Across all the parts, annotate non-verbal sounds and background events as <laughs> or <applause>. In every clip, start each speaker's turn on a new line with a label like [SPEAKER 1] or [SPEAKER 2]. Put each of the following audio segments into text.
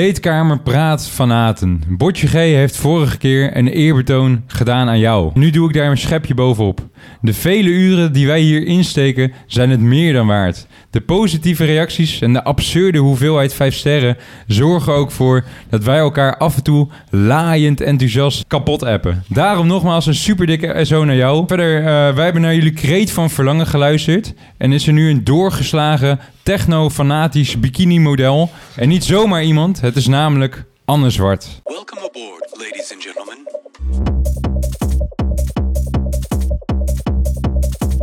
[SPEAKER 1] Kleedkamer praat van Aten. Botje G heeft vorige keer een eerbetoon gedaan aan jou. Nu doe ik daar een schepje bovenop. De vele uren die wij hier insteken zijn het meer dan waard. De positieve reacties en de absurde hoeveelheid 5 sterren zorgen ook voor dat wij elkaar af en toe laaiend enthousiast kapot appen. Daarom nogmaals een super dikke SO naar jou. Verder, eh, wij hebben naar jullie kreet van verlangen geluisterd. En is er nu een doorgeslagen techno-fanatisch bikini-model. En niet zomaar iemand, het is namelijk Anne Zwart.
[SPEAKER 2] Welcome aboard, ladies and gentlemen.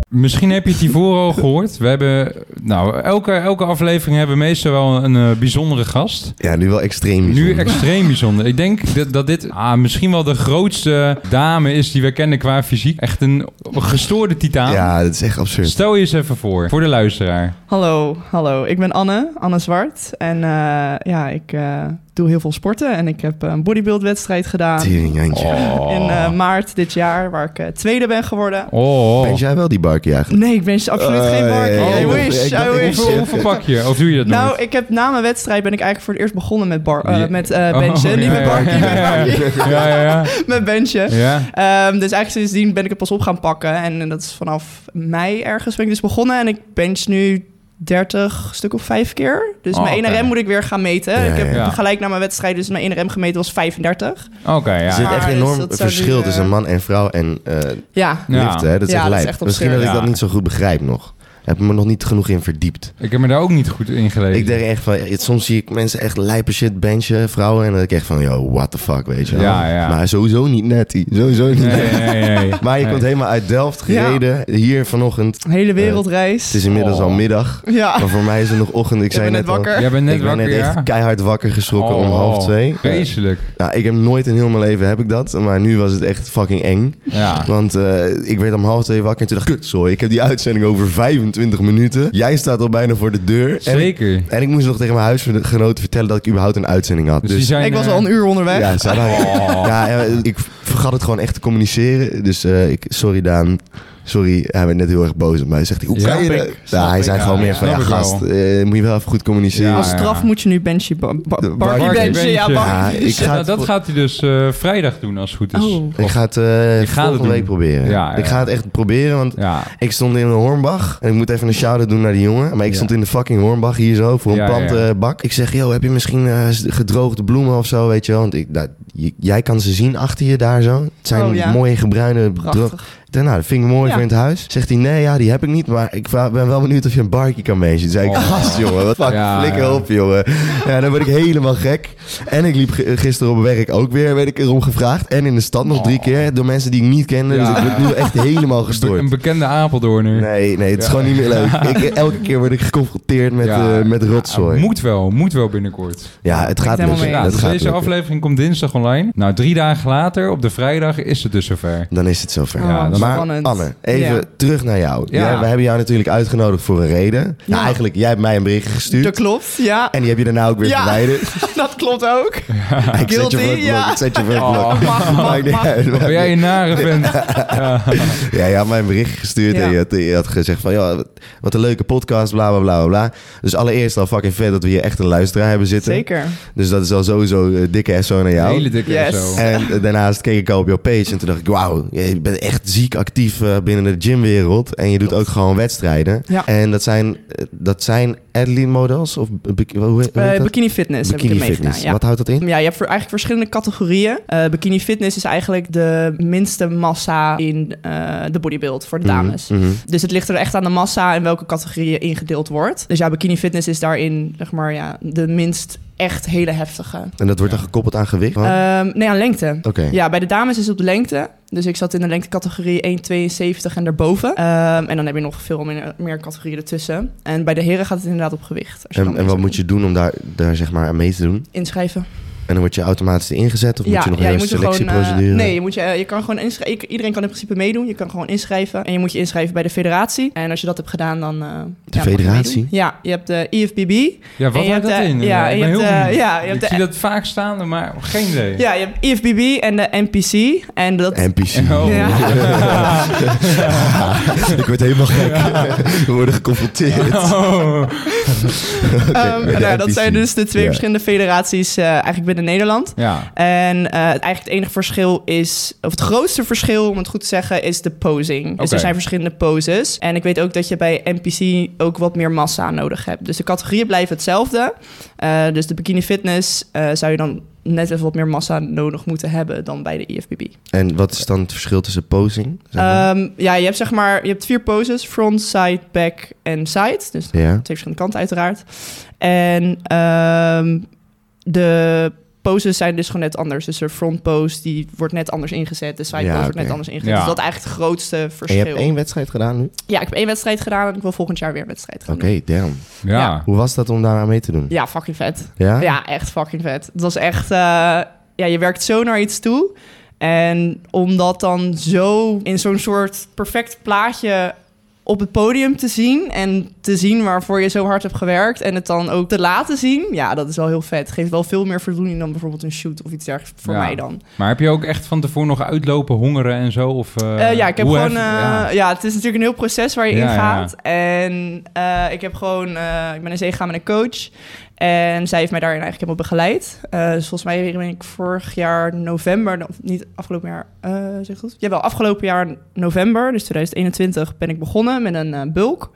[SPEAKER 1] Misschien heb je het hiervoor al gehoord. We hebben, nou, elke, elke aflevering hebben we meestal wel een eh, bijzondere gast.
[SPEAKER 3] Ja, nu wel extreem.
[SPEAKER 1] Nu extreem bijzonder. Ik denk dat, dat dit ah, misschien wel de grootste dame is die we kennen qua fysiek. Echt een gestoorde titaan.
[SPEAKER 3] Ja, dat is echt absurd.
[SPEAKER 1] Stel je eens even voor, voor de luisteraar.
[SPEAKER 4] Hallo, hallo. Ik ben Anne, Anne Zwart. En eh, ja, ik eh, doe heel veel sporten. En ik heb eh, een bodybuildwedstrijd gedaan
[SPEAKER 3] Tering, Jantje.
[SPEAKER 4] in eh,
[SPEAKER 3] Oh.
[SPEAKER 4] maart dit jaar, waar ik eh, tweede ben geworden.
[SPEAKER 1] Oh.
[SPEAKER 3] Ben jij wel die barkie eigenlijk?
[SPEAKER 4] Nee, ik ben dus absoluut
[SPEAKER 3] Eh,
[SPEAKER 4] geen barkie.
[SPEAKER 3] ja, ja,
[SPEAKER 4] I
[SPEAKER 3] ja.
[SPEAKER 4] wish,
[SPEAKER 3] Ik dacht-
[SPEAKER 4] I
[SPEAKER 3] ik
[SPEAKER 4] wish.
[SPEAKER 3] dacht-
[SPEAKER 1] Hoeveel, hoeveel pak je? Of doe je dat
[SPEAKER 4] Nou,
[SPEAKER 1] nooit?
[SPEAKER 4] ik heb na mijn wedstrijd ben ik eigenlijk voor het eerst begonnen met, bar, eh,
[SPEAKER 1] Ja.
[SPEAKER 4] met eh, benchen.
[SPEAKER 1] Oh,
[SPEAKER 4] Niet
[SPEAKER 1] ja,
[SPEAKER 4] met
[SPEAKER 1] ja, <laughs>
[SPEAKER 4] barkie,
[SPEAKER 1] ja,
[SPEAKER 4] met
[SPEAKER 1] ja.
[SPEAKER 4] barkie.
[SPEAKER 1] Ja, ja, ja.
[SPEAKER 4] Met benchen.
[SPEAKER 1] ja.
[SPEAKER 4] Ehm, dus eigenlijk sindsdien ben ik het pas op gaan pakken. En, eh, dat is vanaf mei ergens ben ik dus begonnen. En ik bench nu 30 stuk of vijf keer. Dus
[SPEAKER 1] Oh,
[SPEAKER 4] mijn ene
[SPEAKER 1] oké.
[SPEAKER 4] rem moet ik weer gaan meten.
[SPEAKER 3] Ja,
[SPEAKER 4] ik heb
[SPEAKER 1] ja.
[SPEAKER 4] gelijk na mijn wedstrijd, dus mijn ene rem gemeten was 35.
[SPEAKER 1] Oké, ja.
[SPEAKER 3] Er zit
[SPEAKER 4] Maar
[SPEAKER 3] echt een
[SPEAKER 4] dus
[SPEAKER 3] enorm
[SPEAKER 4] dat zou
[SPEAKER 3] verschil
[SPEAKER 4] nu, eh,
[SPEAKER 3] tussen man en vrouw en eh
[SPEAKER 4] Ja,
[SPEAKER 1] Ja.
[SPEAKER 3] liefde. Hè? Dat is
[SPEAKER 4] Ja,
[SPEAKER 3] echt
[SPEAKER 4] dat is
[SPEAKER 3] lijp.
[SPEAKER 4] echt
[SPEAKER 3] Misschien dat
[SPEAKER 4] absurd.
[SPEAKER 3] ik dat
[SPEAKER 1] Ja.
[SPEAKER 3] niet zo goed begrijp nog. Heb me nog niet genoeg in verdiept.
[SPEAKER 1] Ik heb me daar ook niet goed in gelezen.
[SPEAKER 3] Ik denk echt van, ja, soms zie ik mensen echt lijpe shit benchen, vrouwen. En dan denk ik echt van, yo, what the fuck, weet je wel.
[SPEAKER 1] Ja, ja.
[SPEAKER 3] Maar sowieso niet netty. Sowieso niet
[SPEAKER 1] Nee,
[SPEAKER 3] netty.
[SPEAKER 1] nee, nee.
[SPEAKER 3] <laughs> Maar je
[SPEAKER 1] Nee.
[SPEAKER 3] komt helemaal uit Delft
[SPEAKER 4] Ja.
[SPEAKER 3] gereden, hier vanochtend.
[SPEAKER 4] een hele wereldreis.
[SPEAKER 3] Het is inmiddels
[SPEAKER 1] Oh.
[SPEAKER 3] al middag.
[SPEAKER 4] ja,
[SPEAKER 3] Maar voor mij is het nog ochtend. Ik
[SPEAKER 4] ik
[SPEAKER 3] zei
[SPEAKER 4] ben
[SPEAKER 3] net
[SPEAKER 4] net
[SPEAKER 3] al,
[SPEAKER 4] wakker.
[SPEAKER 1] Jij bent net
[SPEAKER 3] ik ben
[SPEAKER 1] wakker,
[SPEAKER 3] net
[SPEAKER 1] ja?
[SPEAKER 3] echt keihard wakker geschrokken om
[SPEAKER 1] Oh,
[SPEAKER 3] half twee.
[SPEAKER 1] Vreselijk.
[SPEAKER 3] Nou, ik heb nooit in heel mijn leven heb ik dat. Maar nu was het echt fucking eng.
[SPEAKER 1] Ja.
[SPEAKER 3] Want eh, ik werd om half twee wakker en toen dacht ik... Kut, sorry, ik heb die uitzending over 25 minuten. Jij staat al bijna voor de deur. En ik,
[SPEAKER 1] Zeker.
[SPEAKER 3] en ik moest nog tegen mijn huisgenoten vertellen dat ik überhaupt een uitzending had.
[SPEAKER 1] Dus die
[SPEAKER 3] Dus,
[SPEAKER 1] zijn,
[SPEAKER 4] ik was
[SPEAKER 1] eh,
[SPEAKER 4] al een uur onderweg.
[SPEAKER 3] ja, zij waren-
[SPEAKER 1] Oh.
[SPEAKER 3] ja, eh, ik vergat het gewoon echt te communiceren. Dus eh, ik, sorry Daan. Sorry, hij werd net heel erg boos op mij. Zegt hij, hoe
[SPEAKER 1] Ja,
[SPEAKER 3] kan je
[SPEAKER 1] ik-
[SPEAKER 3] dat?
[SPEAKER 1] snap
[SPEAKER 3] Nou, hij
[SPEAKER 1] ik,
[SPEAKER 3] zei
[SPEAKER 1] ja,
[SPEAKER 3] gewoon meer
[SPEAKER 1] ja,
[SPEAKER 3] van, ja
[SPEAKER 1] snap ik wel.
[SPEAKER 3] gast, eh, moet je wel even goed communiceren.
[SPEAKER 1] Ja,
[SPEAKER 4] Als straf moet je nu benchen. ba- ba-
[SPEAKER 3] Barkie
[SPEAKER 4] barkie
[SPEAKER 3] benchen.
[SPEAKER 4] benchen, ja,
[SPEAKER 1] Ja,
[SPEAKER 4] barkie
[SPEAKER 3] ik
[SPEAKER 4] benchen.
[SPEAKER 3] ga-
[SPEAKER 1] Nou, dat gaat hij dus eh, vrijdag doen als het goed is.
[SPEAKER 4] Oh.
[SPEAKER 3] Ik ga het eh,
[SPEAKER 1] Ik ga het
[SPEAKER 3] volgende
[SPEAKER 1] doen.
[SPEAKER 3] week proberen.
[SPEAKER 1] Ja, ja.
[SPEAKER 3] Ik ga het echt proberen, want
[SPEAKER 1] Ja,
[SPEAKER 3] ik stond in de Hornbach. En ik moet even een shout-out doen naar die jongen. Maar ik
[SPEAKER 1] Ja.
[SPEAKER 3] stond in de fucking Hornbach hier zo, voor een
[SPEAKER 1] Ja, ja, ja.
[SPEAKER 3] plantenbak. Ik zeg, yo, heb je misschien eh, gedroogde bloemen of zo, weet je wel? Want ik, nou, j- jij kan ze zien achter je daar zo. Het zijn
[SPEAKER 4] Oh, ja.
[SPEAKER 3] mooie gebruine... dro-
[SPEAKER 4] Prachtig.
[SPEAKER 3] Ik dacht, Nou, dat vind ik mooi
[SPEAKER 4] Ja.
[SPEAKER 3] voor in het huis. Zegt hij, nee, ja, die heb ik niet. Maar ik vra- ben wel benieuwd of je een barkie kan meenemen. Toen zei ik,
[SPEAKER 1] Oh.
[SPEAKER 3] gast, jongen. Wat fuck,
[SPEAKER 1] Ja,
[SPEAKER 3] flikker
[SPEAKER 1] ja.
[SPEAKER 3] op, jongen. Ja, dan word ik helemaal gek. En ik liep g- gisteren op werk ook weer, werd ik erom gevraagd. En in de stad nog drie
[SPEAKER 1] Oh.
[SPEAKER 3] keer door mensen die ik niet kende.
[SPEAKER 1] Ja.
[SPEAKER 3] Dus ik ben nu echt helemaal
[SPEAKER 1] Be- een
[SPEAKER 3] gestoord.
[SPEAKER 1] bekende Apeldoorner.
[SPEAKER 3] Nee, nee, het is
[SPEAKER 1] Ja.
[SPEAKER 3] gewoon niet meer
[SPEAKER 1] <laughs>
[SPEAKER 3] leuk. Ik, elke keer word ik geconfronteerd met,
[SPEAKER 1] Ja,
[SPEAKER 3] eh, met
[SPEAKER 1] ja,
[SPEAKER 3] rotzooi.
[SPEAKER 1] moet wel, moet wel binnenkort.
[SPEAKER 3] Ja, het gaat
[SPEAKER 4] Ik ben helemaal
[SPEAKER 3] lukken.
[SPEAKER 4] mee
[SPEAKER 1] Ja,
[SPEAKER 3] Het
[SPEAKER 1] dus
[SPEAKER 3] gaat
[SPEAKER 1] deze
[SPEAKER 3] lukken.
[SPEAKER 1] aflevering komt dinsdag online. Nou, drie dagen later, op de vrijdag, is het dus zover.
[SPEAKER 3] Dan is het zover.
[SPEAKER 4] Oh,
[SPEAKER 1] Ja,
[SPEAKER 4] wat
[SPEAKER 1] dat-
[SPEAKER 3] Maar
[SPEAKER 4] spannend.
[SPEAKER 3] Anne, even
[SPEAKER 4] Ja.
[SPEAKER 3] terug naar jou.
[SPEAKER 1] Ja.
[SPEAKER 3] Jij- we hebben jou natuurlijk uitgenodigd voor een reden. Nou,
[SPEAKER 4] Ja.
[SPEAKER 3] eigenlijk, jij hebt mij een bericht gestuurd.
[SPEAKER 4] Dat klopt, ja. <laughs>
[SPEAKER 3] En die heb je daarna ook weer
[SPEAKER 4] Ja. <laughs>
[SPEAKER 3] verwijderd.
[SPEAKER 4] Dat klopt ook.
[SPEAKER 3] ik zet je
[SPEAKER 4] Guilty,
[SPEAKER 3] voor het blok.
[SPEAKER 4] ja.
[SPEAKER 3] Ik zet je voor het blok.
[SPEAKER 4] <laughs>
[SPEAKER 1] Oh,
[SPEAKER 4] Mag, mag,
[SPEAKER 3] Maakt niet
[SPEAKER 4] mag.
[SPEAKER 3] uit.
[SPEAKER 1] ben jij een nare vent. Ja.
[SPEAKER 3] Ja, je had mij een bericht gestuurd
[SPEAKER 4] Ja.
[SPEAKER 3] en je had, je had gezegd van... Ja, wat- wat een leuke podcast, bla, bla, bla, bla, bla. Dus allereerst al fucking vet dat we hier echt een luisteraar hebben zitten.
[SPEAKER 4] Zeker.
[SPEAKER 3] Dus dat is al sowieso eh, dikke SO naar jou.
[SPEAKER 1] Hele dikke
[SPEAKER 4] Yes.
[SPEAKER 1] zo.
[SPEAKER 3] En eh, daarnaast keek ik al op jouw page en toen dacht ik... Wauw, je bent echt ziek actief eh, binnen de gymwereld. En je doet ook gewoon wedstrijden.
[SPEAKER 4] Ja.
[SPEAKER 3] En dat zijn, eh, dat zijn Adeline models? Of bik- hoe, hoe heet
[SPEAKER 4] Eh,
[SPEAKER 3] dat?
[SPEAKER 4] bikini fitness heb
[SPEAKER 3] Bikini
[SPEAKER 4] ik ermee gedaan.
[SPEAKER 3] fitness.
[SPEAKER 4] Ja.
[SPEAKER 3] Wat houdt dat in?
[SPEAKER 4] Ja, je hebt voor eigenlijk verschillende categorieën. Eh, bikini fitness is eigenlijk de minste massa in eh, de bodybuild voor de dames.
[SPEAKER 3] Mhm, mhm.
[SPEAKER 4] Dus het ligt er echt aan de massa en welke categorie je ingedeeld wordt. Dus ja, bikini fitness is daarin zeg maar, ja, de minst echt hele heftige.
[SPEAKER 3] En dat wordt dan gekoppeld aan gewicht? Oké.
[SPEAKER 4] Ehm, nee, aan lengte. Ja, bij de dames is het op de lengte. Dus ik zat in de lengtecategorie 1,72 en daarboven. Ehm, en dan heb je nog veel meer, meer categorieën ertussen. En bij de heren gaat het inderdaad op gewicht. Als je
[SPEAKER 3] En, en
[SPEAKER 4] dan
[SPEAKER 3] wat
[SPEAKER 4] mensen
[SPEAKER 3] moet je doen om daar, daar zeg maar aan mee te doen?
[SPEAKER 4] inschrijven?
[SPEAKER 3] En dan word je automatisch ingezet of moet je nog
[SPEAKER 4] ja,
[SPEAKER 3] een
[SPEAKER 4] er gewoon, eh,
[SPEAKER 3] selectieprocedure?
[SPEAKER 4] nee, je, moet je, eh, je kan gewoon inschrijven. Iedereen kan in principe meedoen. Je kan gewoon inschrijven. En je moet je inschrijven bij de federatie. En als je dat hebt gedaan, dan. eh, ja, mag je
[SPEAKER 3] federatie?
[SPEAKER 4] meedoen. Ja, je hebt de E IFBB.
[SPEAKER 1] Ja,
[SPEAKER 4] En
[SPEAKER 1] wat
[SPEAKER 4] je
[SPEAKER 1] houdt
[SPEAKER 4] hebt
[SPEAKER 1] dat
[SPEAKER 4] de-
[SPEAKER 1] in?
[SPEAKER 4] ja,
[SPEAKER 1] ik
[SPEAKER 4] je
[SPEAKER 1] ben
[SPEAKER 4] hebt
[SPEAKER 1] heel
[SPEAKER 4] de-
[SPEAKER 1] benieuwd.
[SPEAKER 4] ja, je hebt
[SPEAKER 1] Ik zie
[SPEAKER 4] de-
[SPEAKER 1] dat vaak staan, maar geen idee.
[SPEAKER 4] Ja, je hebt E IFBB en de NPC. En dat.
[SPEAKER 3] NPC.
[SPEAKER 1] Oh.
[SPEAKER 4] Ja.
[SPEAKER 3] <laughs> ik word helemaal gek. We worden geconfronteerd. <laughs>
[SPEAKER 1] Oh.
[SPEAKER 4] Ehm,
[SPEAKER 3] bij de
[SPEAKER 4] nou, dat
[SPEAKER 3] NPC.
[SPEAKER 4] zijn dus de twee
[SPEAKER 3] Ja.
[SPEAKER 4] verschillende federaties eh, eigenlijk binnen Nederland.
[SPEAKER 1] Ja.
[SPEAKER 4] En eh, eigenlijk het enige verschil is, of het grootste verschil om het goed te zeggen, is de posing. Dus
[SPEAKER 1] Oké.
[SPEAKER 4] er zijn verschillende poses. En ik weet ook dat je bij NPC ook wat meer massa nodig hebt. Dus de categorieën blijven hetzelfde. Eh, dus de bikini fitness eh, zou je dan net even wat meer massa nodig moeten hebben dan bij de E IFBB.
[SPEAKER 3] En wat is dan het verschil tussen posing? zeg maar?
[SPEAKER 4] Ehm, ja, je hebt zeg maar, je hebt vier poses: front, side, back en side. Dus
[SPEAKER 3] ja.
[SPEAKER 4] twee verschillende kanten uiteraard. En ehm, de poses zijn dus gewoon net anders. Dus de front pose die wordt net anders ingezet. De side
[SPEAKER 3] Ja,
[SPEAKER 4] pose wordt
[SPEAKER 3] oké.
[SPEAKER 4] net anders ingezet.
[SPEAKER 1] Ja.
[SPEAKER 4] Dus dat is eigenlijk het grootste
[SPEAKER 3] En je hebt
[SPEAKER 4] verschil.
[SPEAKER 3] één wedstrijd gedaan nu? Oké,
[SPEAKER 4] Ja, ik heb één wedstrijd gedaan en ik wil volgend jaar weer een wedstrijd gaan doen.
[SPEAKER 3] damn.
[SPEAKER 1] Ja.
[SPEAKER 3] Hoe was dat om daar aan mee te doen?
[SPEAKER 4] Ja, fucking vet.
[SPEAKER 3] Ja?
[SPEAKER 4] Ja, echt fucking vet. Het was echt... eh, ja, je werkt zo naar iets toe. En om dat dan zo in zo'n soort perfect plaatje op het podium te zien... en te zien waarvoor je zo hard hebt gewerkt... en het dan ook te laten zien... ja, dat is wel heel vet. Het geeft wel veel meer voldoening dan bijvoorbeeld een shoot of iets dergelijks. Voor
[SPEAKER 1] Ja.
[SPEAKER 4] mij dan.
[SPEAKER 1] Maar heb je ook echt van tevoren nog uitlopen, hongeren en zo? Of, eh,
[SPEAKER 4] Eh, ja, ik heb
[SPEAKER 1] hoe
[SPEAKER 4] gewoon.
[SPEAKER 1] hef-
[SPEAKER 4] eh, ja.
[SPEAKER 1] ja.
[SPEAKER 4] het is natuurlijk een heel proces waar je
[SPEAKER 1] Ja,
[SPEAKER 4] in
[SPEAKER 1] ja.
[SPEAKER 4] gaat. En eh, ik heb gewoon. eh, ik ben in zee gegaan met een coach. En zij heeft mij daarin eigenlijk helemaal begeleid. Eh, dus volgens mij ben ik vorig jaar november, of niet afgelopen jaar, eh zeg ik goed? Jawel, afgelopen jaar november, dus 2021, ben ik begonnen met een eh, bulk.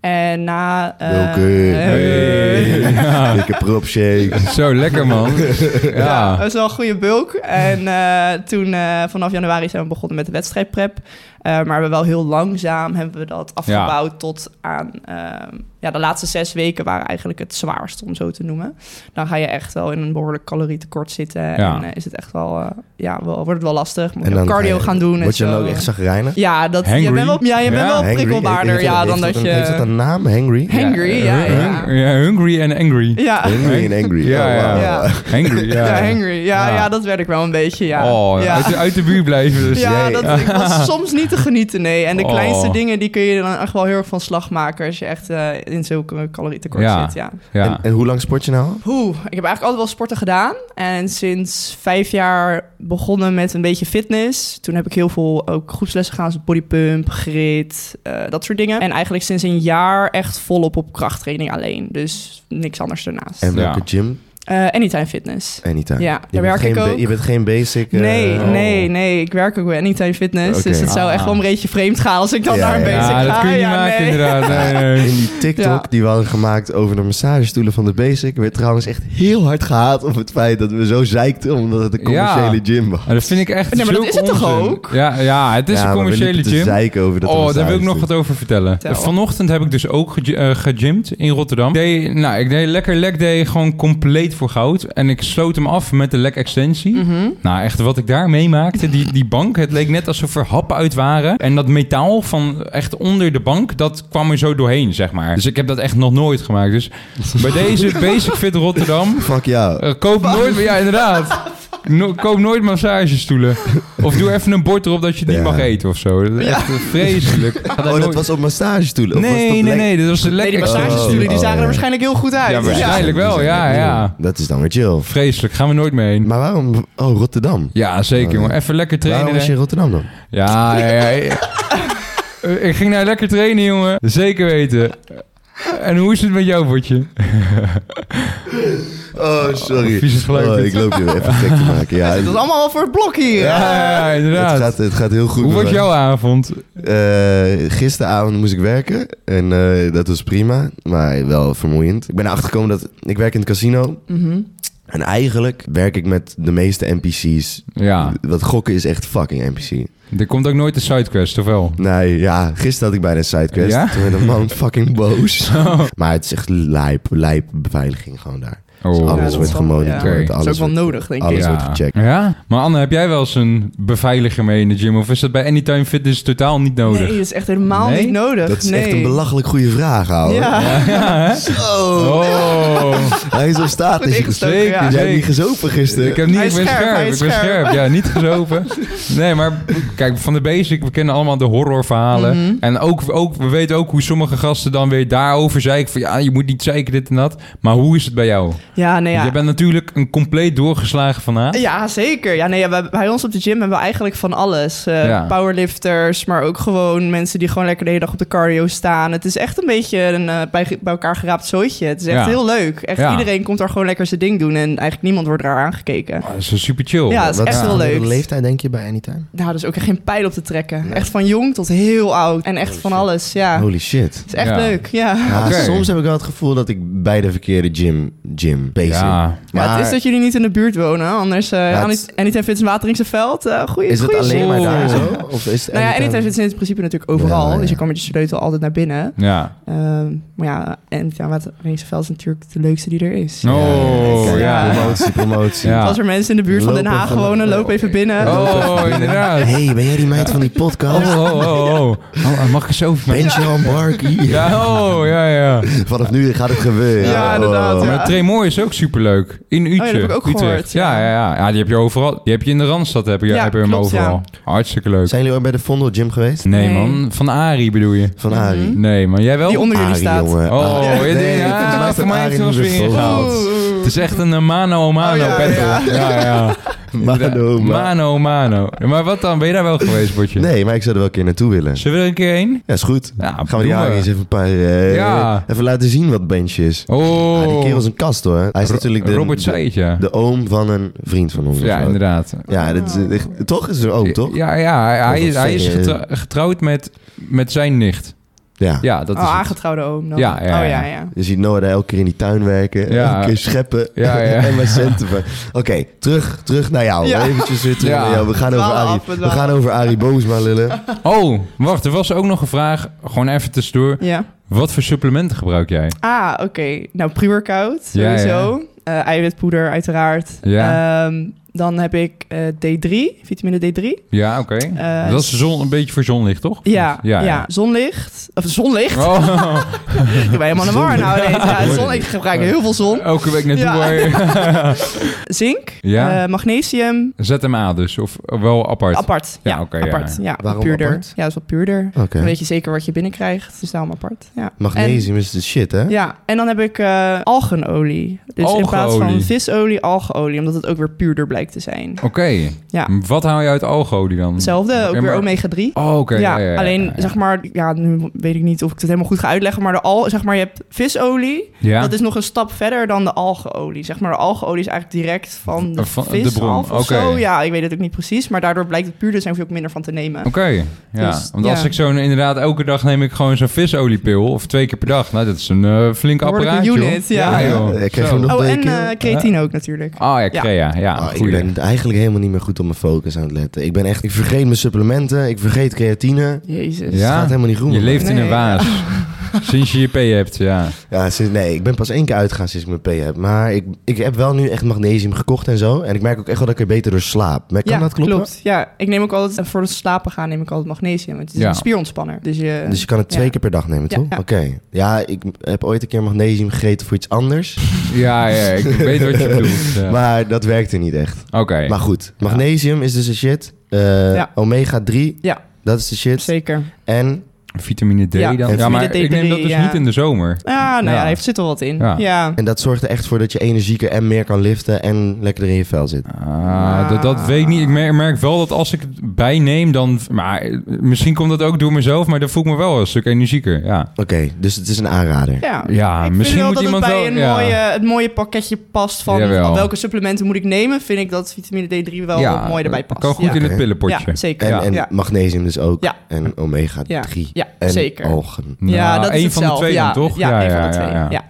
[SPEAKER 4] En na... eh,
[SPEAKER 3] Bulken.
[SPEAKER 1] Hey.
[SPEAKER 4] eh,
[SPEAKER 1] <laughs> Ja.
[SPEAKER 3] Dikke prop shake.
[SPEAKER 1] Zo lekker,
[SPEAKER 3] <laughs>
[SPEAKER 1] man.
[SPEAKER 4] Ja, dat
[SPEAKER 1] Ja.
[SPEAKER 4] is wel een goede bulk. En <laughs> eh, toen eh, vanaf januari zijn we begonnen met de wedstrijdprep. Eh, maar we hebben wel heel langzaam hebben we dat afgebouwd tot aan... ehm, ja, de laatste zes weken waren eigenlijk het zwaarst, om zo te noemen. Dan ga je echt wel in een behoorlijk calorietekort zitten. En eh, is het echt wel... eh, ja, wel, wordt het wel lastig. Moet je ook cardio
[SPEAKER 3] ga je-
[SPEAKER 4] gaan doen en
[SPEAKER 3] Word je dan
[SPEAKER 4] zo.
[SPEAKER 3] ook echt zagrijnig?
[SPEAKER 4] Ja, dat, je
[SPEAKER 1] Hangry?
[SPEAKER 4] bent wel, ja, je bent
[SPEAKER 1] Ja,
[SPEAKER 4] wel
[SPEAKER 3] Hangry?
[SPEAKER 4] prikkelbaarder
[SPEAKER 3] Heeft dat-
[SPEAKER 4] ja,
[SPEAKER 3] heeft
[SPEAKER 4] dan dat, je...
[SPEAKER 3] een- Heeft dat een naam, Hangry?
[SPEAKER 4] Hangry, ja, ja.
[SPEAKER 1] Hung- hungry en angry.
[SPEAKER 4] ja.
[SPEAKER 3] Hangry en Angry.
[SPEAKER 1] Ja,
[SPEAKER 3] Oh,
[SPEAKER 1] ja.
[SPEAKER 3] wauw.
[SPEAKER 4] Ja.
[SPEAKER 1] Hangry, ja.
[SPEAKER 4] Ja, hangry. Ja,
[SPEAKER 1] Ja.
[SPEAKER 4] ja. dat werd ik wel een beetje, ja.
[SPEAKER 1] Oh,
[SPEAKER 4] ja.
[SPEAKER 1] Uit, de, uit de buurt blijven dus.
[SPEAKER 4] Ja,
[SPEAKER 3] jij-
[SPEAKER 4] dat, ik
[SPEAKER 3] <laughs>
[SPEAKER 4] was soms niet te genieten, nee. En de
[SPEAKER 1] Oh.
[SPEAKER 4] kleinste dingen, die kun je dan echt wel heel erg van slag maken... als je echt eh, in zulke calorietekort
[SPEAKER 1] Ja.
[SPEAKER 4] zit, ja.
[SPEAKER 1] Ja.
[SPEAKER 3] En, en hoe lang sport je nou? al?
[SPEAKER 4] Oeh, ik heb eigenlijk altijd wel sporten gedaan. En sinds vijf jaar begonnen met een beetje fitness. Toen heb ik heel veel ook groepslessen gedaan, zoals bodypump, grid, eh, dat soort dingen. En eigenlijk sinds een jaar echt volop op krachttraining alleen. Dus niks anders daarnaast.
[SPEAKER 3] En
[SPEAKER 4] En,
[SPEAKER 3] welke
[SPEAKER 1] Ja.
[SPEAKER 3] gym?
[SPEAKER 4] anytime fitness.
[SPEAKER 3] Anytime. je
[SPEAKER 4] Ja, daar
[SPEAKER 3] bent
[SPEAKER 4] werk
[SPEAKER 3] geen
[SPEAKER 4] ik
[SPEAKER 3] ba-
[SPEAKER 4] ook.
[SPEAKER 3] Je bent geen basic... eh,
[SPEAKER 4] Nee,
[SPEAKER 1] oh.
[SPEAKER 4] nee, nee. Ik werk ook bij Anytime Fitness.
[SPEAKER 3] Oké.
[SPEAKER 4] Dus het zou
[SPEAKER 1] Ah.
[SPEAKER 4] echt wel een beetje vreemd gaan als ik dan
[SPEAKER 3] Ja,
[SPEAKER 4] daar een
[SPEAKER 3] ja.
[SPEAKER 4] bezig ga.
[SPEAKER 1] Ja, dat kun je niet maken
[SPEAKER 4] nee.
[SPEAKER 1] inderdaad.
[SPEAKER 4] <laughs>
[SPEAKER 1] Nee, nee.
[SPEAKER 3] In die TikTok
[SPEAKER 4] Ja.
[SPEAKER 3] die we hadden gemaakt over de massagestoelen van de Basic... werd trouwens echt heel hard gehaat op het feit dat we zo zeikten... omdat het een commerciële
[SPEAKER 1] Ja.
[SPEAKER 3] gym was.
[SPEAKER 1] Maar dat vind ik echt
[SPEAKER 4] Nee, maar dat
[SPEAKER 1] zulke
[SPEAKER 4] is het toch
[SPEAKER 1] onzin.
[SPEAKER 4] ook?
[SPEAKER 1] Ja, ja het is
[SPEAKER 3] Ja,
[SPEAKER 1] een
[SPEAKER 3] maar we
[SPEAKER 1] commerciële
[SPEAKER 3] liepen te
[SPEAKER 1] gym.
[SPEAKER 3] zeiken over dat
[SPEAKER 1] Oh, daar wil ik nog wat
[SPEAKER 3] massagestoel.
[SPEAKER 1] over vertellen.
[SPEAKER 4] Vertel.
[SPEAKER 1] Vanochtend heb ik dus ook ge eh, gegymd in Rotterdam. Ik deed, nou, ik deed lekker leg day gewoon compleet voor goud. En ik sloot hem af met de leg extensie.
[SPEAKER 4] Mhm.
[SPEAKER 1] Nou, echt wat ik daar meemaakte, die, die bank, het leek net alsof er happen uit waren. En dat metaal van echt onder de bank, dat kwam er zo doorheen, zeg maar. Dus ik heb dat echt nog nooit gemaakt. Dus bij deze
[SPEAKER 3] <laughs>
[SPEAKER 1] Basic Fit Rotterdam,
[SPEAKER 3] Fuck jou.
[SPEAKER 1] eh, koop nooit, ja inderdaad. No- koop nooit massagestoelen. Of doe even een bord erop dat je die
[SPEAKER 3] Ja.
[SPEAKER 1] mag eten of zo. Dat is echt vreselijk.
[SPEAKER 3] Oh, dat was op massagestoelen? of was dat
[SPEAKER 1] Nee, nee,
[SPEAKER 3] lek-
[SPEAKER 1] nee, dat was de
[SPEAKER 4] Nee, die
[SPEAKER 1] lekker.
[SPEAKER 4] massagestoelen die
[SPEAKER 3] Oh.
[SPEAKER 4] zagen er waarschijnlijk heel goed uit. Dus
[SPEAKER 1] Ja, waarschijnlijk wel, ja, ja.
[SPEAKER 3] Dat is dan weer chill.
[SPEAKER 1] Vreselijk, gaan we nooit mee heen.
[SPEAKER 3] Maar waarom... Oh, Rotterdam.
[SPEAKER 1] Ja, zeker, maar even lekker trainen.
[SPEAKER 3] Waarom was
[SPEAKER 1] hè.
[SPEAKER 3] je in Rotterdam dan?
[SPEAKER 1] Ja, ja, ja,
[SPEAKER 3] <laughs>
[SPEAKER 1] ja. Eh, Ik ging daar lekker trainen, jongen. Zeker weten. En hoe is het met jou, Botje?
[SPEAKER 3] Oh, sorry.
[SPEAKER 1] vies is gelijk
[SPEAKER 3] Oh,
[SPEAKER 1] dit.
[SPEAKER 3] ik loop je weer even gek te
[SPEAKER 1] <laughs>
[SPEAKER 3] maken. Ja,
[SPEAKER 4] Dat is allemaal wel voor het blok hier.
[SPEAKER 1] Ja, ja, ja,
[SPEAKER 3] het,
[SPEAKER 1] inderdaad.
[SPEAKER 3] gaat, het gaat heel goed.
[SPEAKER 1] Hoe
[SPEAKER 3] met
[SPEAKER 1] wordt
[SPEAKER 3] mij.
[SPEAKER 1] jouw avond?
[SPEAKER 3] Eh, gisteravond moest ik werken en eh, dat was prima, maar wel vermoeiend. Ik ben erachter gekomen dat ik werk in het casino
[SPEAKER 4] Mhm.
[SPEAKER 3] en eigenlijk werk ik met de meeste NPC's.
[SPEAKER 1] Ja,
[SPEAKER 3] Dat gokken is echt fucking NPC.
[SPEAKER 1] er komt ook nooit een sidequest, of wel?
[SPEAKER 3] Nee, ja, gisteren had ik bijna een sidequest.
[SPEAKER 1] Ja?
[SPEAKER 3] Toen werd een
[SPEAKER 1] <laughs>
[SPEAKER 3] man fucking boos. Maar het is echt lijp, lijp beveiliging gewoon daar.
[SPEAKER 1] Oh.
[SPEAKER 3] Dus
[SPEAKER 4] Ja,
[SPEAKER 3] alles
[SPEAKER 4] dat
[SPEAKER 3] wordt
[SPEAKER 4] is wel-
[SPEAKER 3] gemonitord.
[SPEAKER 1] ja.
[SPEAKER 3] Alles
[SPEAKER 4] Dat is ook wel
[SPEAKER 3] wordt-
[SPEAKER 4] nodig, denk
[SPEAKER 3] alles
[SPEAKER 4] ik.
[SPEAKER 1] ja.
[SPEAKER 3] wordt gecheckt.
[SPEAKER 1] Ja? Maar Anne, heb jij wel eens een beveiliger mee in de gym? Of is dat bij Anytime Fitness totaal niet nodig?
[SPEAKER 4] Nee, dat is echt helemaal
[SPEAKER 1] Nee?
[SPEAKER 4] niet nodig.
[SPEAKER 3] Dat is
[SPEAKER 4] nee.
[SPEAKER 3] echt een belachelijk goede vraag, ouwe.
[SPEAKER 4] Ja.
[SPEAKER 1] <laughs> Ja, hè?
[SPEAKER 3] Zo,
[SPEAKER 1] Oh,
[SPEAKER 3] hij is op staat.
[SPEAKER 4] Goed
[SPEAKER 3] Is
[SPEAKER 4] ingestoken,
[SPEAKER 1] zeker,
[SPEAKER 4] ja.
[SPEAKER 3] Jij
[SPEAKER 1] zeker.
[SPEAKER 3] hebt niet gezopen gisteren.
[SPEAKER 1] Ik, heb niet,
[SPEAKER 4] Eh, Hij
[SPEAKER 1] ik
[SPEAKER 4] is
[SPEAKER 1] ben
[SPEAKER 4] scherp,
[SPEAKER 1] scherp,
[SPEAKER 4] hij
[SPEAKER 1] ik
[SPEAKER 4] is
[SPEAKER 1] ben
[SPEAKER 4] scherp.
[SPEAKER 1] scherp. Ja,
[SPEAKER 4] <laughs>
[SPEAKER 1] niet gezopen. Nee, maar kijk, van de basic, we kennen allemaal de horrorverhalen.
[SPEAKER 4] Mhm.
[SPEAKER 1] En ook, ook, we weten ook hoe sommige gasten dan weer daarover zeiken. Van ja, je moet niet zeiken dit en dat. Maar hoe is het bij jou?
[SPEAKER 4] Ja, nee, ja.
[SPEAKER 1] Je bent natuurlijk een compleet doorgeslagen van A.
[SPEAKER 4] Ja, zeker. Ja, nee, ja, we- bij ons op de gym hebben we eigenlijk van alles. Eh,
[SPEAKER 1] Ja.
[SPEAKER 4] Powerlifters, maar ook gewoon mensen die gewoon lekker de hele dag op de cardio staan. Het is echt een beetje een eh, bij, bij elkaar geraapt zooitje. Het is echt
[SPEAKER 1] Ja.
[SPEAKER 4] heel leuk. Echt
[SPEAKER 1] Ja.
[SPEAKER 4] iedereen komt daar gewoon lekker zijn ding doen en eigenlijk niemand wordt daar aangekeken.
[SPEAKER 1] Ah, Dat is wel super chill.
[SPEAKER 4] Ja, dat is
[SPEAKER 3] Wat
[SPEAKER 4] echt
[SPEAKER 3] de
[SPEAKER 4] heel leuk.
[SPEAKER 3] leeftijd denk je bij Anytime?
[SPEAKER 4] Nou, dus ook echt geen pijl op te trekken.
[SPEAKER 3] Nee.
[SPEAKER 4] Echt van jong tot heel oud en echt van alles, ja. Het
[SPEAKER 3] Holy shit.
[SPEAKER 4] is echt
[SPEAKER 1] Ja.
[SPEAKER 4] leuk, Ah. ja.
[SPEAKER 3] Ja,
[SPEAKER 1] Oké.
[SPEAKER 3] Soms heb ik wel het gevoel dat ik bij de verkeerde gym, gym bezig
[SPEAKER 1] Ja.
[SPEAKER 4] Maar het is dat jullie niet in de buurt wonen, anders... eh
[SPEAKER 3] het-
[SPEAKER 4] Anit- Anytime Fitness Wateringse Veld, eh goeie,
[SPEAKER 3] is het
[SPEAKER 4] goeie
[SPEAKER 3] alleen
[SPEAKER 4] zin.
[SPEAKER 3] maar daar
[SPEAKER 1] Oh.
[SPEAKER 3] zo? Of is het anytime-
[SPEAKER 4] Nou ja, Anytime Fitness is in principe natuurlijk overal.
[SPEAKER 3] Ja, ja.
[SPEAKER 4] Dus je kan met je sleutel altijd naar binnen.
[SPEAKER 1] Ja.
[SPEAKER 4] Ehm, maar ja, Anytime Wateringse is natuurlijk de leukste die er is.
[SPEAKER 1] Oh,
[SPEAKER 3] Ja, kijk,
[SPEAKER 1] ja.
[SPEAKER 3] Promotie, promotie.
[SPEAKER 1] Ja.
[SPEAKER 4] Als er mensen in de buurt van Den
[SPEAKER 3] Lopen
[SPEAKER 4] Haag
[SPEAKER 3] van de-
[SPEAKER 4] wonen, loop even binnen.
[SPEAKER 1] Oh, inderdaad.
[SPEAKER 3] hey, ben jij die meid van die
[SPEAKER 1] Oh,
[SPEAKER 3] podcast?
[SPEAKER 1] oh, oh, oh. Oh, mag ik eens over
[SPEAKER 3] Ben je al Barkie?
[SPEAKER 1] Ja, oh, ja, ja.
[SPEAKER 3] Vanaf nu gaat het gebeuren.
[SPEAKER 4] Ja, inderdaad, ja.
[SPEAKER 1] Maar Tremor is ook superleuk. In Utrecht.
[SPEAKER 4] heb ik ook
[SPEAKER 1] Utrecht.
[SPEAKER 4] gehoord,
[SPEAKER 1] Ja,
[SPEAKER 4] ja.
[SPEAKER 1] ja, ja. Ja, die heb je overal. Die heb je in de Randstad, heb je,
[SPEAKER 4] Ja,
[SPEAKER 1] heb je hem
[SPEAKER 4] klopt, ja.
[SPEAKER 1] overal. Oh, Hartstikke leuk.
[SPEAKER 3] Oh. Zijn jullie ook bij de Vondel Gym geweest?
[SPEAKER 1] Nee,
[SPEAKER 4] Nee.
[SPEAKER 1] man. Van Ari bedoel je?
[SPEAKER 3] Van Arie.
[SPEAKER 4] Mhm.
[SPEAKER 1] Nee, man. Jij wel?
[SPEAKER 4] Die onder jullie
[SPEAKER 3] Arie,
[SPEAKER 4] staat.
[SPEAKER 3] jongen.
[SPEAKER 1] Oh,
[SPEAKER 3] Arie.
[SPEAKER 1] ja, die-
[SPEAKER 3] Nee,
[SPEAKER 1] ja,
[SPEAKER 3] volgens mij
[SPEAKER 1] voor
[SPEAKER 3] staat
[SPEAKER 1] mij heeft
[SPEAKER 3] Arie
[SPEAKER 1] hij ons
[SPEAKER 3] nu
[SPEAKER 1] weer
[SPEAKER 3] zo vol.
[SPEAKER 1] ingehaald. Het is echt een eh, mano mano
[SPEAKER 4] Oh, ja,
[SPEAKER 1] battle.
[SPEAKER 4] ja.
[SPEAKER 1] ja, ja.
[SPEAKER 3] Mano, ma-
[SPEAKER 1] mano. mano. Maar wat dan? Ben je daar wel geweest, Botje?
[SPEAKER 3] Nee, maar ik zou er wel een keer naartoe willen.
[SPEAKER 1] Zullen we er een keer heen?
[SPEAKER 3] Ja, is goed.
[SPEAKER 1] Ja,
[SPEAKER 3] Gaan we die
[SPEAKER 1] doen
[SPEAKER 3] Arie eens even een paar... eh,
[SPEAKER 1] Ah, Ja.
[SPEAKER 3] Even laten zien wat bench is.
[SPEAKER 1] Oh.
[SPEAKER 3] Ja, die kerel is een kast hoor. Hij is
[SPEAKER 1] Ro-
[SPEAKER 3] natuurlijk de,
[SPEAKER 1] Robert zei
[SPEAKER 3] de,
[SPEAKER 1] het, ja.
[SPEAKER 3] de oom van een vriend van ons. of
[SPEAKER 1] Ja,
[SPEAKER 3] zo.
[SPEAKER 1] inderdaad.
[SPEAKER 3] Ja, dat is echt- toch is er oom, toch?
[SPEAKER 1] Ja, ja hij, hij
[SPEAKER 3] Dat
[SPEAKER 1] is, hij is
[SPEAKER 3] zeg je.
[SPEAKER 1] getrou- getrouwd met, met zijn nicht.
[SPEAKER 3] Ja.
[SPEAKER 1] Ja, dat
[SPEAKER 4] oh,
[SPEAKER 1] is het.
[SPEAKER 4] aangetrouwde oom dan.
[SPEAKER 1] Ja, ja,
[SPEAKER 4] Oh,
[SPEAKER 1] ja.
[SPEAKER 4] ja, ja.
[SPEAKER 3] Je ziet Noah daar elke keer in die tuin werken.
[SPEAKER 1] Ja.
[SPEAKER 3] Elke keer scheppen.
[SPEAKER 1] Ja, ja.
[SPEAKER 3] <laughs> en maar centen. ver- Oké, terug, terug naar jou.
[SPEAKER 4] Ja.
[SPEAKER 3] Eventjes weer terug
[SPEAKER 1] Ja.
[SPEAKER 3] naar jou. We gaan, over
[SPEAKER 4] Dwaal
[SPEAKER 3] Arie,
[SPEAKER 4] af, we
[SPEAKER 3] we
[SPEAKER 4] dwalen
[SPEAKER 3] gaan over Arie Boomsma lullen.
[SPEAKER 1] Oh, wacht, er was ook nog een vraag. Gewoon even tussendoor.
[SPEAKER 4] Ja.
[SPEAKER 1] Wat voor supplementen gebruik jij?
[SPEAKER 4] Ah, oké. Nou, pre-workout
[SPEAKER 1] Ja, ja.
[SPEAKER 4] sowieso. Eh, eiwitpoeder uiteraard.
[SPEAKER 1] Ja.
[SPEAKER 4] Ehm, dan heb ik eh, D3, vitamine D3.
[SPEAKER 1] Ja, oké.
[SPEAKER 4] Eh,
[SPEAKER 1] dat is zon, een beetje voor zonlicht, toch?
[SPEAKER 4] Ja, ja,
[SPEAKER 1] Ja, ja.
[SPEAKER 4] zonlicht. Of zonlicht?
[SPEAKER 1] <laughs> Oh,
[SPEAKER 4] Ik ben helemaal in de war nou ineens. Ja, zon, ik gebruik heel veel zon.
[SPEAKER 1] elke week naartoe.
[SPEAKER 4] Ja.
[SPEAKER 1] <laughs> waar-
[SPEAKER 4] Zink,
[SPEAKER 1] Ja.
[SPEAKER 4] eh, magnesium.
[SPEAKER 1] ZMA dus, of wel apart?
[SPEAKER 4] Apart.
[SPEAKER 1] Ja,
[SPEAKER 4] Ja,
[SPEAKER 1] oké, ja.
[SPEAKER 4] apart. Ja. wat
[SPEAKER 3] Waarom
[SPEAKER 4] puurder.
[SPEAKER 3] apart?
[SPEAKER 4] Ja, dat is wat puurder.
[SPEAKER 3] Oké.
[SPEAKER 4] Dan weet je zeker wat je binnenkrijgt. Dus daarom apart. Ja.
[SPEAKER 3] Magnesium is de shit, hè?
[SPEAKER 4] En, ja, en dan heb ik eh, algenolie. Dus in plaats van
[SPEAKER 1] Algeolie.
[SPEAKER 4] visolie, algeolie. Omdat het ook weer puurder blijkt te zijn.
[SPEAKER 1] Oké.
[SPEAKER 4] Ja.
[SPEAKER 1] Wat haal je uit algolie dan?
[SPEAKER 4] Hetzelfde, ook
[SPEAKER 1] Ja,
[SPEAKER 4] weer
[SPEAKER 1] maar-
[SPEAKER 4] omega-3.
[SPEAKER 1] Oh, oké.
[SPEAKER 4] ja,
[SPEAKER 1] ja, ja, ja,
[SPEAKER 4] alleen
[SPEAKER 1] ja, ja.
[SPEAKER 4] zeg maar, ja, nu weet ik niet of ik het helemaal goed ga uitleggen, maar de al, zeg maar, je hebt visolie,
[SPEAKER 1] Ja?
[SPEAKER 4] dat is nog een stap verder dan de algeolie. Zeg maar, de algeolie is eigenlijk direct van de
[SPEAKER 1] Van de
[SPEAKER 4] vis
[SPEAKER 1] bron,
[SPEAKER 4] af of
[SPEAKER 1] oké.
[SPEAKER 4] zo. Ja, ik weet het ook niet precies, maar daardoor blijkt het puurder te zijn, hoef je ook minder van te nemen.
[SPEAKER 1] Oké, ja.
[SPEAKER 4] Dus,
[SPEAKER 1] Want
[SPEAKER 4] ja.
[SPEAKER 1] als ik zo'n inderdaad elke dag neem ik gewoon zo'n visoliepil of twee keer per dag. Nou, dat is een eh, flink
[SPEAKER 4] Behoorlijke
[SPEAKER 1] apparaatje. hoor.
[SPEAKER 4] unit, ja.
[SPEAKER 1] joh.
[SPEAKER 3] Ik krijg
[SPEAKER 1] Zo.
[SPEAKER 3] hem nog
[SPEAKER 4] Oh,
[SPEAKER 3] twee
[SPEAKER 4] en
[SPEAKER 3] keer.
[SPEAKER 4] eh, creatine ook natuurlijk.
[SPEAKER 1] Oh ja,
[SPEAKER 4] Ja.
[SPEAKER 1] Crea. Ja,
[SPEAKER 3] Ah, ik
[SPEAKER 1] goeie.
[SPEAKER 3] ben eigenlijk helemaal niet meer goed op mijn focus aan het letten. Ik ben echt... Ik vergeet mijn supplementen. Ik vergeet creatine.
[SPEAKER 4] Jezus.
[SPEAKER 1] Ja.
[SPEAKER 3] Het gaat helemaal niet goed.
[SPEAKER 1] Je
[SPEAKER 3] met
[SPEAKER 1] leeft
[SPEAKER 3] mij.
[SPEAKER 1] in een
[SPEAKER 4] Nee.
[SPEAKER 1] waas.
[SPEAKER 4] <laughs>
[SPEAKER 1] Sinds je je P hebt, ja.
[SPEAKER 3] Ja, sinds- nee, ik ben pas één keer uitgegaan sinds ik mijn P heb. Maar ik, ik heb wel nu echt magnesium gekocht en zo. En ik merk ook echt wel dat ik er beter door slaap. Maar kan
[SPEAKER 4] ja,
[SPEAKER 3] dat kloppen?
[SPEAKER 4] klopt. Ja, ik neem ook altijd, eh, voor het slapen gaan neem ik altijd magnesium. want Het is
[SPEAKER 1] Ja.
[SPEAKER 4] een spierontspanner. Dus je...
[SPEAKER 3] Dus je kan het twee
[SPEAKER 4] Ja.
[SPEAKER 3] keer per dag nemen,
[SPEAKER 4] Ja,
[SPEAKER 3] toch?
[SPEAKER 4] ja.
[SPEAKER 3] Oké. Ja, ik heb ooit een keer magnesium gegeten voor iets anders.
[SPEAKER 1] Ja, ja, ik weet wat je <laughs> bedoelt. ja.
[SPEAKER 3] Maar dat werkte niet echt.
[SPEAKER 1] Oké.
[SPEAKER 3] Maar goed, magnesium is dus de shit. Eh,
[SPEAKER 4] Ja.
[SPEAKER 3] Omega 3,
[SPEAKER 4] Ja.
[SPEAKER 3] dat is de shit.
[SPEAKER 4] Zeker.
[SPEAKER 3] En
[SPEAKER 1] Vitamine D
[SPEAKER 4] Ja,
[SPEAKER 1] dan.
[SPEAKER 3] vitamine
[SPEAKER 1] Ja, maar
[SPEAKER 4] D3,
[SPEAKER 1] ik neem dat dus
[SPEAKER 4] ja.
[SPEAKER 1] niet in de zomer.
[SPEAKER 4] Ja, nou ja,
[SPEAKER 1] Ja.
[SPEAKER 4] daar heeft- zit er wat in.
[SPEAKER 1] Ja.
[SPEAKER 4] Ja.
[SPEAKER 3] En dat zorgt er echt voor dat je energieker en meer kan liften en lekkerder in je vel zit.
[SPEAKER 1] Ah, dat, dat weet ik niet. Ik mer- merk wel dat als ik het bijneem, dan... Maar eh, misschien komt dat ook door mezelf, maar dan voel ik me wel een stuk energieker. Ja,
[SPEAKER 3] Oké, dus het is een aanrader.
[SPEAKER 4] Ja,
[SPEAKER 1] Ja,
[SPEAKER 4] ik
[SPEAKER 1] misschien
[SPEAKER 4] vind
[SPEAKER 1] moet
[SPEAKER 4] wel
[SPEAKER 1] iemand
[SPEAKER 4] dat het
[SPEAKER 1] wel-
[SPEAKER 4] bij een
[SPEAKER 1] ja.
[SPEAKER 4] mooie, het mooie pakketje past van
[SPEAKER 1] Jawel.
[SPEAKER 4] welke supplementen moet ik nemen. Vind ik dat vitamine D3 wel
[SPEAKER 1] ja
[SPEAKER 4] mooi erbij past.
[SPEAKER 1] kan goed
[SPEAKER 4] ja.
[SPEAKER 1] in het
[SPEAKER 3] Oké.
[SPEAKER 1] pillenpotje.
[SPEAKER 4] Ja, zeker.
[SPEAKER 3] En,
[SPEAKER 1] Ja.
[SPEAKER 3] en
[SPEAKER 4] Ja.
[SPEAKER 3] magnesium dus ook.
[SPEAKER 4] Ja.
[SPEAKER 3] En omega
[SPEAKER 4] Ja.
[SPEAKER 3] 3.
[SPEAKER 4] Ja,
[SPEAKER 3] en oh.
[SPEAKER 4] zeker.
[SPEAKER 3] algen.
[SPEAKER 1] Nou,
[SPEAKER 4] ja, dat is
[SPEAKER 1] één van de
[SPEAKER 4] hetzelfde.
[SPEAKER 1] twee dan,
[SPEAKER 4] ja,
[SPEAKER 1] toch?
[SPEAKER 4] Ja,
[SPEAKER 1] Ja,
[SPEAKER 4] één
[SPEAKER 1] ja,
[SPEAKER 4] van de twee.
[SPEAKER 1] ja.
[SPEAKER 4] Ja.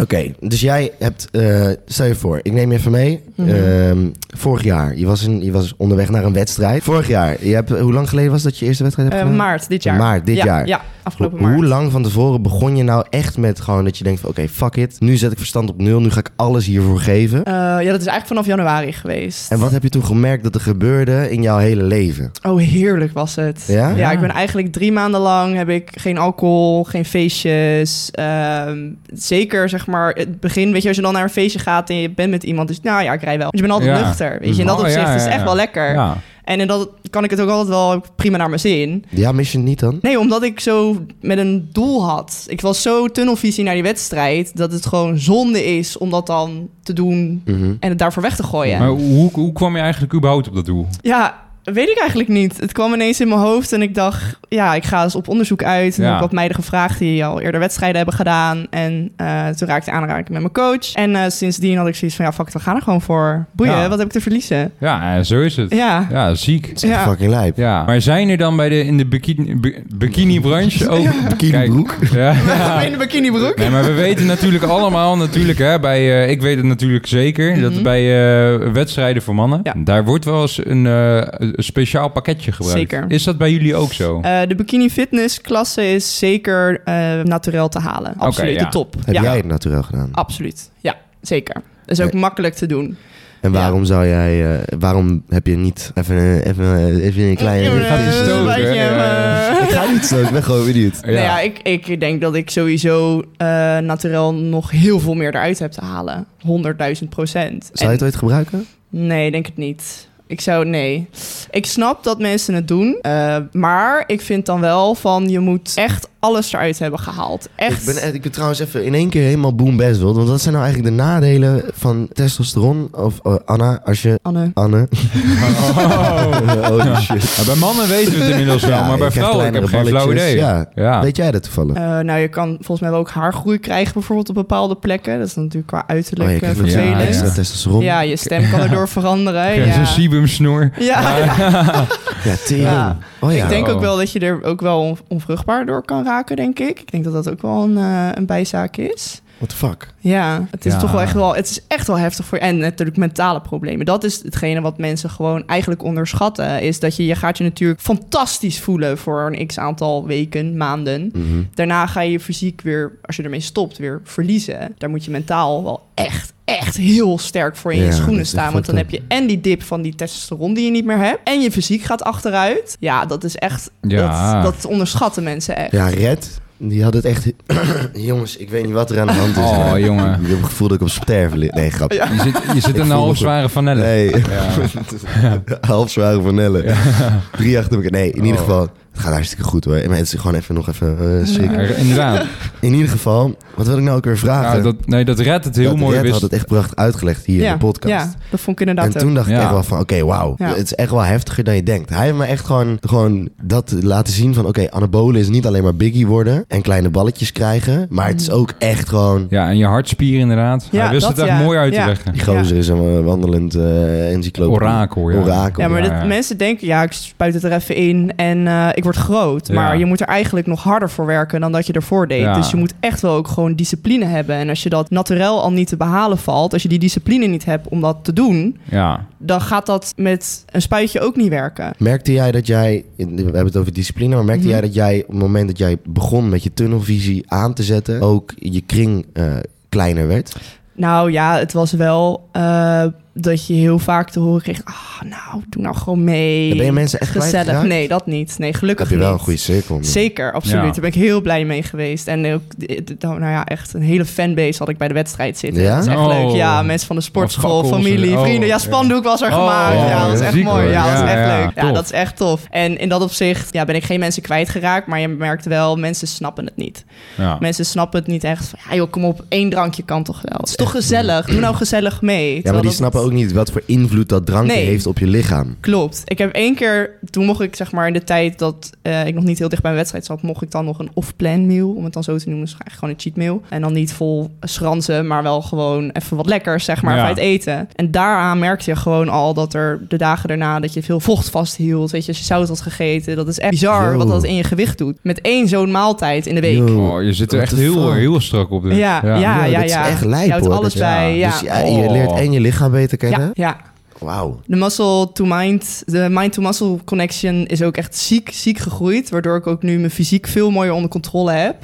[SPEAKER 3] Oké, dus jij hebt, eh, stel je voor, ik neem je even mee.
[SPEAKER 4] Mhm.
[SPEAKER 3] Ehm, vorig jaar, je was, in, je was onderweg naar een wedstrijd. Vorig jaar, je hebt, hoe lang geleden was dat je eerste wedstrijd hebt
[SPEAKER 4] Eh,
[SPEAKER 3] gedaan?
[SPEAKER 4] maart dit jaar.
[SPEAKER 3] Maart dit
[SPEAKER 4] Ja,
[SPEAKER 3] jaar.
[SPEAKER 4] Ja, afgelopen
[SPEAKER 3] Hoe-
[SPEAKER 4] maart.
[SPEAKER 3] Hoe lang van tevoren begon je nou echt met gewoon dat je denkt van oké, fuck it. Nu zet ik verstand op nul, nu ga ik alles hiervoor geven.
[SPEAKER 4] Eh, ja, dat is eigenlijk vanaf januari geweest.
[SPEAKER 3] En wat heb je toen gemerkt dat er gebeurde in jouw hele leven?
[SPEAKER 4] Oh, heerlijk was het.
[SPEAKER 3] Ja?
[SPEAKER 1] Ja.
[SPEAKER 4] ik ben eigenlijk drie maanden lang heb ik geen alcohol, geen feestjes. Ehm, zeker zeg maar het begin, weet je, als je dan naar een feestje gaat en je bent met iemand, dus nou ja, ik rij wel. Want je bent altijd
[SPEAKER 1] Ja.
[SPEAKER 4] nuchter, weet je. In dat
[SPEAKER 1] Oh, ja,
[SPEAKER 4] opzicht is
[SPEAKER 1] ja,
[SPEAKER 4] het echt
[SPEAKER 1] ja.
[SPEAKER 4] wel lekker.
[SPEAKER 1] Ja.
[SPEAKER 4] En in dat kan ik het ook altijd wel prima naar mijn zin.
[SPEAKER 3] Ja, mis je het niet dan?
[SPEAKER 4] Nee, omdat ik zo met een doel had. Ik was zo tunnelvisie naar die wedstrijd dat het gewoon zonde is om dat dan te doen
[SPEAKER 3] Mhm.
[SPEAKER 4] en het daarvoor weg te gooien.
[SPEAKER 1] Maar hoe, hoe kwam je eigenlijk überhaupt op dat doel?
[SPEAKER 4] Ja, weet ik eigenlijk niet. Het kwam ineens in mijn hoofd en ik dacht, ja, ik ga eens op onderzoek uit. En
[SPEAKER 1] Ja.
[SPEAKER 4] heb ik wat meiden gevraagd die al eerder wedstrijden hebben gedaan. En eh, toen raakte ik aanraking met mijn coach. En eh, sindsdien had ik zoiets van, ja, fuck, it, we gaan er gewoon voor. Boeien,
[SPEAKER 1] Ja.
[SPEAKER 4] wat heb ik te verliezen?
[SPEAKER 1] Ja, eh, zo is het.
[SPEAKER 4] Ja.
[SPEAKER 1] Ja, ziek.
[SPEAKER 3] Het is echt
[SPEAKER 4] Ja.
[SPEAKER 3] fucking lijp.
[SPEAKER 1] Ja. Maar zijn er dan bij de, in de bikini, bi-
[SPEAKER 3] <laughs>
[SPEAKER 1] bikini-branche ook... Kijk,
[SPEAKER 3] Kinderbroek.
[SPEAKER 1] <laughs> Ja.
[SPEAKER 4] <laughs> In de bikinibroek.
[SPEAKER 1] Nee, maar we weten natuurlijk allemaal, natuurlijk, hè, bij, eh, ik weet het natuurlijk zeker, dat
[SPEAKER 4] Mhm.
[SPEAKER 1] bij eh, wedstrijden voor mannen,
[SPEAKER 4] Ja.
[SPEAKER 1] daar wordt wel eens een, eh, een speciaal pakketje gebruikt.
[SPEAKER 4] Zeker.
[SPEAKER 1] Is dat bij jullie ook
[SPEAKER 4] <laughs>
[SPEAKER 1] zo? Oh.
[SPEAKER 4] Eh, de bikini fitness klasse is zeker eh naturel te halen. Absoluut,
[SPEAKER 1] ja.
[SPEAKER 4] de top.
[SPEAKER 3] Heb
[SPEAKER 4] ja,
[SPEAKER 3] jij het natuurlijk gedaan?
[SPEAKER 4] absoluut. Ja, zeker. Dat is ook makkelijk te doen.
[SPEAKER 3] En waarom zou jij, eh, waarom heb je niet even, eh, even, eh, even een kleine...
[SPEAKER 1] gaat hij stoken,
[SPEAKER 4] Eh,
[SPEAKER 1] hè?
[SPEAKER 4] eh,
[SPEAKER 3] Ik ga niet zo, ik ben gewoon benieuwd.
[SPEAKER 1] Ja.
[SPEAKER 4] Nou ja, ik, ik denk dat ik sowieso eh naturel nog heel veel meer eruit heb te halen. 100.000 procent.
[SPEAKER 3] Zou je het ooit gebruiken?
[SPEAKER 4] Nee, denk het niet. Ik zou, nee. Ik snap dat mensen het doen. eh, maar ik vind dan wel van, je moet echt alles eruit hebben gehaald. Echt.
[SPEAKER 3] Ik ben, echt- ik ben trouwens even in één keer helemaal boom best wild. Want wat zijn nou eigenlijk de nadelen van testosteron? Of eh, Anna, als je...
[SPEAKER 4] Anne.
[SPEAKER 3] Anne.
[SPEAKER 1] Oh.
[SPEAKER 3] <laughs> oh shit.
[SPEAKER 1] Ja, bij mannen weten we het inmiddels wel,
[SPEAKER 3] Ja,
[SPEAKER 1] maar bij
[SPEAKER 3] je krijgt
[SPEAKER 1] vrouwen, ik heb geen
[SPEAKER 3] kleinere
[SPEAKER 1] flauw
[SPEAKER 3] balletjes.
[SPEAKER 1] idee. Ah.
[SPEAKER 3] Ja.
[SPEAKER 1] Ja.
[SPEAKER 3] Weet jij dat toevallig? Oh,
[SPEAKER 4] Eh, nou, je kan volgens mij wel ook haargroei krijgen bijvoorbeeld op bepaalde plekken. Dat is natuurlijk qua
[SPEAKER 3] oh,
[SPEAKER 4] uiterlijk
[SPEAKER 3] je
[SPEAKER 4] eh,
[SPEAKER 3] krijgt nog
[SPEAKER 1] vervelend.
[SPEAKER 3] ja,
[SPEAKER 1] Ja,
[SPEAKER 3] extra
[SPEAKER 4] vervelend. Ja,
[SPEAKER 3] testosteron. Ja,
[SPEAKER 4] je stem kan erdoor veranderen.
[SPEAKER 1] Krijg je
[SPEAKER 4] Ja.
[SPEAKER 1] Zo'n sebumsnoer.
[SPEAKER 4] Ja,
[SPEAKER 3] tering.
[SPEAKER 4] Ja.
[SPEAKER 3] Oh ja.
[SPEAKER 4] Ik denk
[SPEAKER 1] Oh.
[SPEAKER 4] ook wel dat je er ook wel on- onvruchtbaar door kan raken, denk ik. Ik denk dat dat ook wel een, eh, een bijzaak is.
[SPEAKER 3] What the fuck?
[SPEAKER 4] Ja, het is
[SPEAKER 1] Ja.
[SPEAKER 4] toch wel echt wel, het is echt wel heftig voor je. En natuurlijk mentale problemen. Dat is hetgene wat mensen gewoon eigenlijk onderschatten. Is dat je, je gaat je natuurlijk fantastisch voelen voor een x aantal weken, maanden.
[SPEAKER 3] Mhm.
[SPEAKER 4] Daarna ga je je fysiek weer, als je ermee stopt, weer verliezen. Daar moet je mentaal wel echt, echt heel sterk voor in
[SPEAKER 3] Ja,
[SPEAKER 4] je
[SPEAKER 3] dat
[SPEAKER 4] schoenen
[SPEAKER 3] is
[SPEAKER 4] staan. Want dan
[SPEAKER 3] fucked
[SPEAKER 4] heb je en die dip van die testosteron die je niet meer hebt. En je fysiek gaat achteruit. Ja, dat is echt,
[SPEAKER 1] Ja.
[SPEAKER 4] dat, dat onderschatten mensen echt.
[SPEAKER 3] Ja, Red, die had het echt... <clears throat> Jongens, ik weet niet wat er aan de hand is.
[SPEAKER 1] Oh,
[SPEAKER 3] maar
[SPEAKER 1] <laughs> jongen.
[SPEAKER 3] Ik heb het gevoel dat ik op sterven lig. Nee, grap.
[SPEAKER 1] Je zit, je zit in
[SPEAKER 3] voel
[SPEAKER 1] een
[SPEAKER 3] me
[SPEAKER 1] half
[SPEAKER 3] goed.
[SPEAKER 1] zware van Nelle.
[SPEAKER 3] Nee,
[SPEAKER 1] Ja.
[SPEAKER 3] <laughs> half zware van Nelle. Drie achter elkaar. Nee, in ieder
[SPEAKER 1] Oh.
[SPEAKER 3] geval, het gaat hartstikke goed hoor. En mensen gewoon even nog even eh, schrikken.
[SPEAKER 1] Ja, inderdaad.
[SPEAKER 3] In ieder geval, wat wil ik nou ook weer vragen?
[SPEAKER 1] Ja, dat, nee, dat redt het heel
[SPEAKER 3] Dat
[SPEAKER 1] mooi
[SPEAKER 3] Red
[SPEAKER 1] wist.
[SPEAKER 3] had het echt prachtig uitgelegd hier
[SPEAKER 4] ja,
[SPEAKER 3] in de podcast.
[SPEAKER 4] ja, dat vond ik inderdaad
[SPEAKER 3] en toen
[SPEAKER 4] ook.
[SPEAKER 3] dacht ik
[SPEAKER 1] Ja.
[SPEAKER 3] echt wel van, oké, wauw.
[SPEAKER 4] Ja.
[SPEAKER 3] Het is echt wel heftiger dan je denkt. Hij heeft me echt gewoon, gewoon dat laten zien van... oké, anabolen is niet alleen maar biggie worden... en kleine balletjes krijgen... maar het is
[SPEAKER 4] Mm.
[SPEAKER 3] ook echt gewoon...
[SPEAKER 1] Ja, en je hartspier inderdaad.
[SPEAKER 4] Ja,
[SPEAKER 1] Hij wist
[SPEAKER 4] dat
[SPEAKER 1] het echt
[SPEAKER 4] ja.
[SPEAKER 1] mooi uit te
[SPEAKER 4] Ja.
[SPEAKER 1] leggen.
[SPEAKER 3] Die gozer is een eh, wandelend eh encyclopedie.
[SPEAKER 1] Orakel, ja.
[SPEAKER 3] Orakel.
[SPEAKER 4] Ja, maar
[SPEAKER 1] Ja,
[SPEAKER 4] dat,
[SPEAKER 1] ja.
[SPEAKER 4] mensen denken, ja, ik spuit het er even in en eh, ik word groot.
[SPEAKER 1] Ja.
[SPEAKER 4] Maar je moet er eigenlijk nog harder voor werken dan dat je ervoor deed.
[SPEAKER 1] Ja.
[SPEAKER 4] Dus je moet echt wel ook gewoon discipline hebben. En als je dat naturel al niet te behalen valt, als je die discipline niet hebt om dat te doen,
[SPEAKER 1] Ja.
[SPEAKER 4] dan gaat dat met een spuitje ook niet werken.
[SPEAKER 3] Merkte jij dat jij, we hebben het over discipline, maar merkte
[SPEAKER 4] Mhm.
[SPEAKER 3] jij dat jij op het moment dat jij begon met je tunnelvisie aan te zetten, ook je kring eh, kleiner werd?
[SPEAKER 4] Nou ja, het was wel eh, dat je heel vaak te horen kreeg, ah, nou, doe nou gewoon mee.
[SPEAKER 3] Ben je mensen echt
[SPEAKER 4] Gezellig.
[SPEAKER 3] kwijtgeraakt?
[SPEAKER 4] Nee, dat niet. Nee,
[SPEAKER 3] Heb
[SPEAKER 4] gelukkig
[SPEAKER 3] je wel een
[SPEAKER 4] niet.
[SPEAKER 3] goede cirkel. man.
[SPEAKER 4] Zeker, absoluut.
[SPEAKER 1] Ja.
[SPEAKER 4] Daar ben ik heel blij mee geweest. En ook, d- d- nou ja, echt een hele fanbase had ik bij de wedstrijd zitten.
[SPEAKER 3] Ja?
[SPEAKER 4] Dat is echt
[SPEAKER 1] Oh.
[SPEAKER 4] leuk. Ja, mensen van de sportschool,
[SPEAKER 1] Wat fakkels
[SPEAKER 4] familie,
[SPEAKER 1] en- oh,
[SPEAKER 4] vrienden. Ja, spandoek was er
[SPEAKER 1] Oh,
[SPEAKER 4] gemaakt.
[SPEAKER 3] ja,
[SPEAKER 4] Ja, dat is echt
[SPEAKER 1] ziek,
[SPEAKER 4] mooi.
[SPEAKER 1] hoor.
[SPEAKER 4] Ja, dat is
[SPEAKER 1] Ja,
[SPEAKER 4] echt
[SPEAKER 1] ja,
[SPEAKER 4] leuk. Ja,
[SPEAKER 1] tof.
[SPEAKER 4] dat is echt tof. En in dat opzicht ja, ben ik geen mensen kwijtgeraakt. Maar je merkt wel, mensen snappen het niet.
[SPEAKER 1] ja.
[SPEAKER 4] Mensen snappen het niet echt. Van, ja joh, kom op, één drankje kan toch wel. Het is toch gezellig. Doe nou gezellig mee.
[SPEAKER 3] ja,
[SPEAKER 4] Terwijl
[SPEAKER 3] maar die
[SPEAKER 4] dat-
[SPEAKER 3] snappen ook niet wat voor invloed dat drankje
[SPEAKER 4] Nee.
[SPEAKER 3] heeft op je lichaam.
[SPEAKER 4] Klopt. Ik heb één keer, toen mocht ik zeg maar in de tijd dat eh, ik nog niet heel dicht bij een wedstrijd zat, mocht ik dan nog een off-plan meal, om het dan zo te noemen, dus eigenlijk gewoon een cheat meal. En dan niet vol schranzen, maar wel gewoon even wat lekkers, zeg maar,
[SPEAKER 1] Ja.
[SPEAKER 4] bij het eten. En daaraan merkte je gewoon al dat er de dagen daarna dat je veel vocht vasthield, weet je, als je zout had gegeten. Dat is echt bizar
[SPEAKER 3] Yo.
[SPEAKER 4] wat dat in je gewicht doet. Met één zo'n maaltijd in de week.
[SPEAKER 3] Yo.
[SPEAKER 1] Oh, je zit er
[SPEAKER 3] What
[SPEAKER 1] echt
[SPEAKER 3] the
[SPEAKER 1] heel,
[SPEAKER 3] fuck?
[SPEAKER 1] heel strak op. dit.
[SPEAKER 4] Ja, ja, ja,
[SPEAKER 3] Yo,
[SPEAKER 4] ja.
[SPEAKER 3] dit is echt lijp,
[SPEAKER 4] Je houdt
[SPEAKER 3] hoor.
[SPEAKER 4] alles
[SPEAKER 3] Dat-
[SPEAKER 4] bij, ja.
[SPEAKER 3] Dus ja, je leert en je lichaam beter kennen.
[SPEAKER 4] ja, ja.
[SPEAKER 3] Wauw.
[SPEAKER 4] De muscle to mind, de mind to muscle connection is ook echt ziek, ziek gegroeid. Waardoor ik ook nu mijn fysiek veel mooier onder controle heb.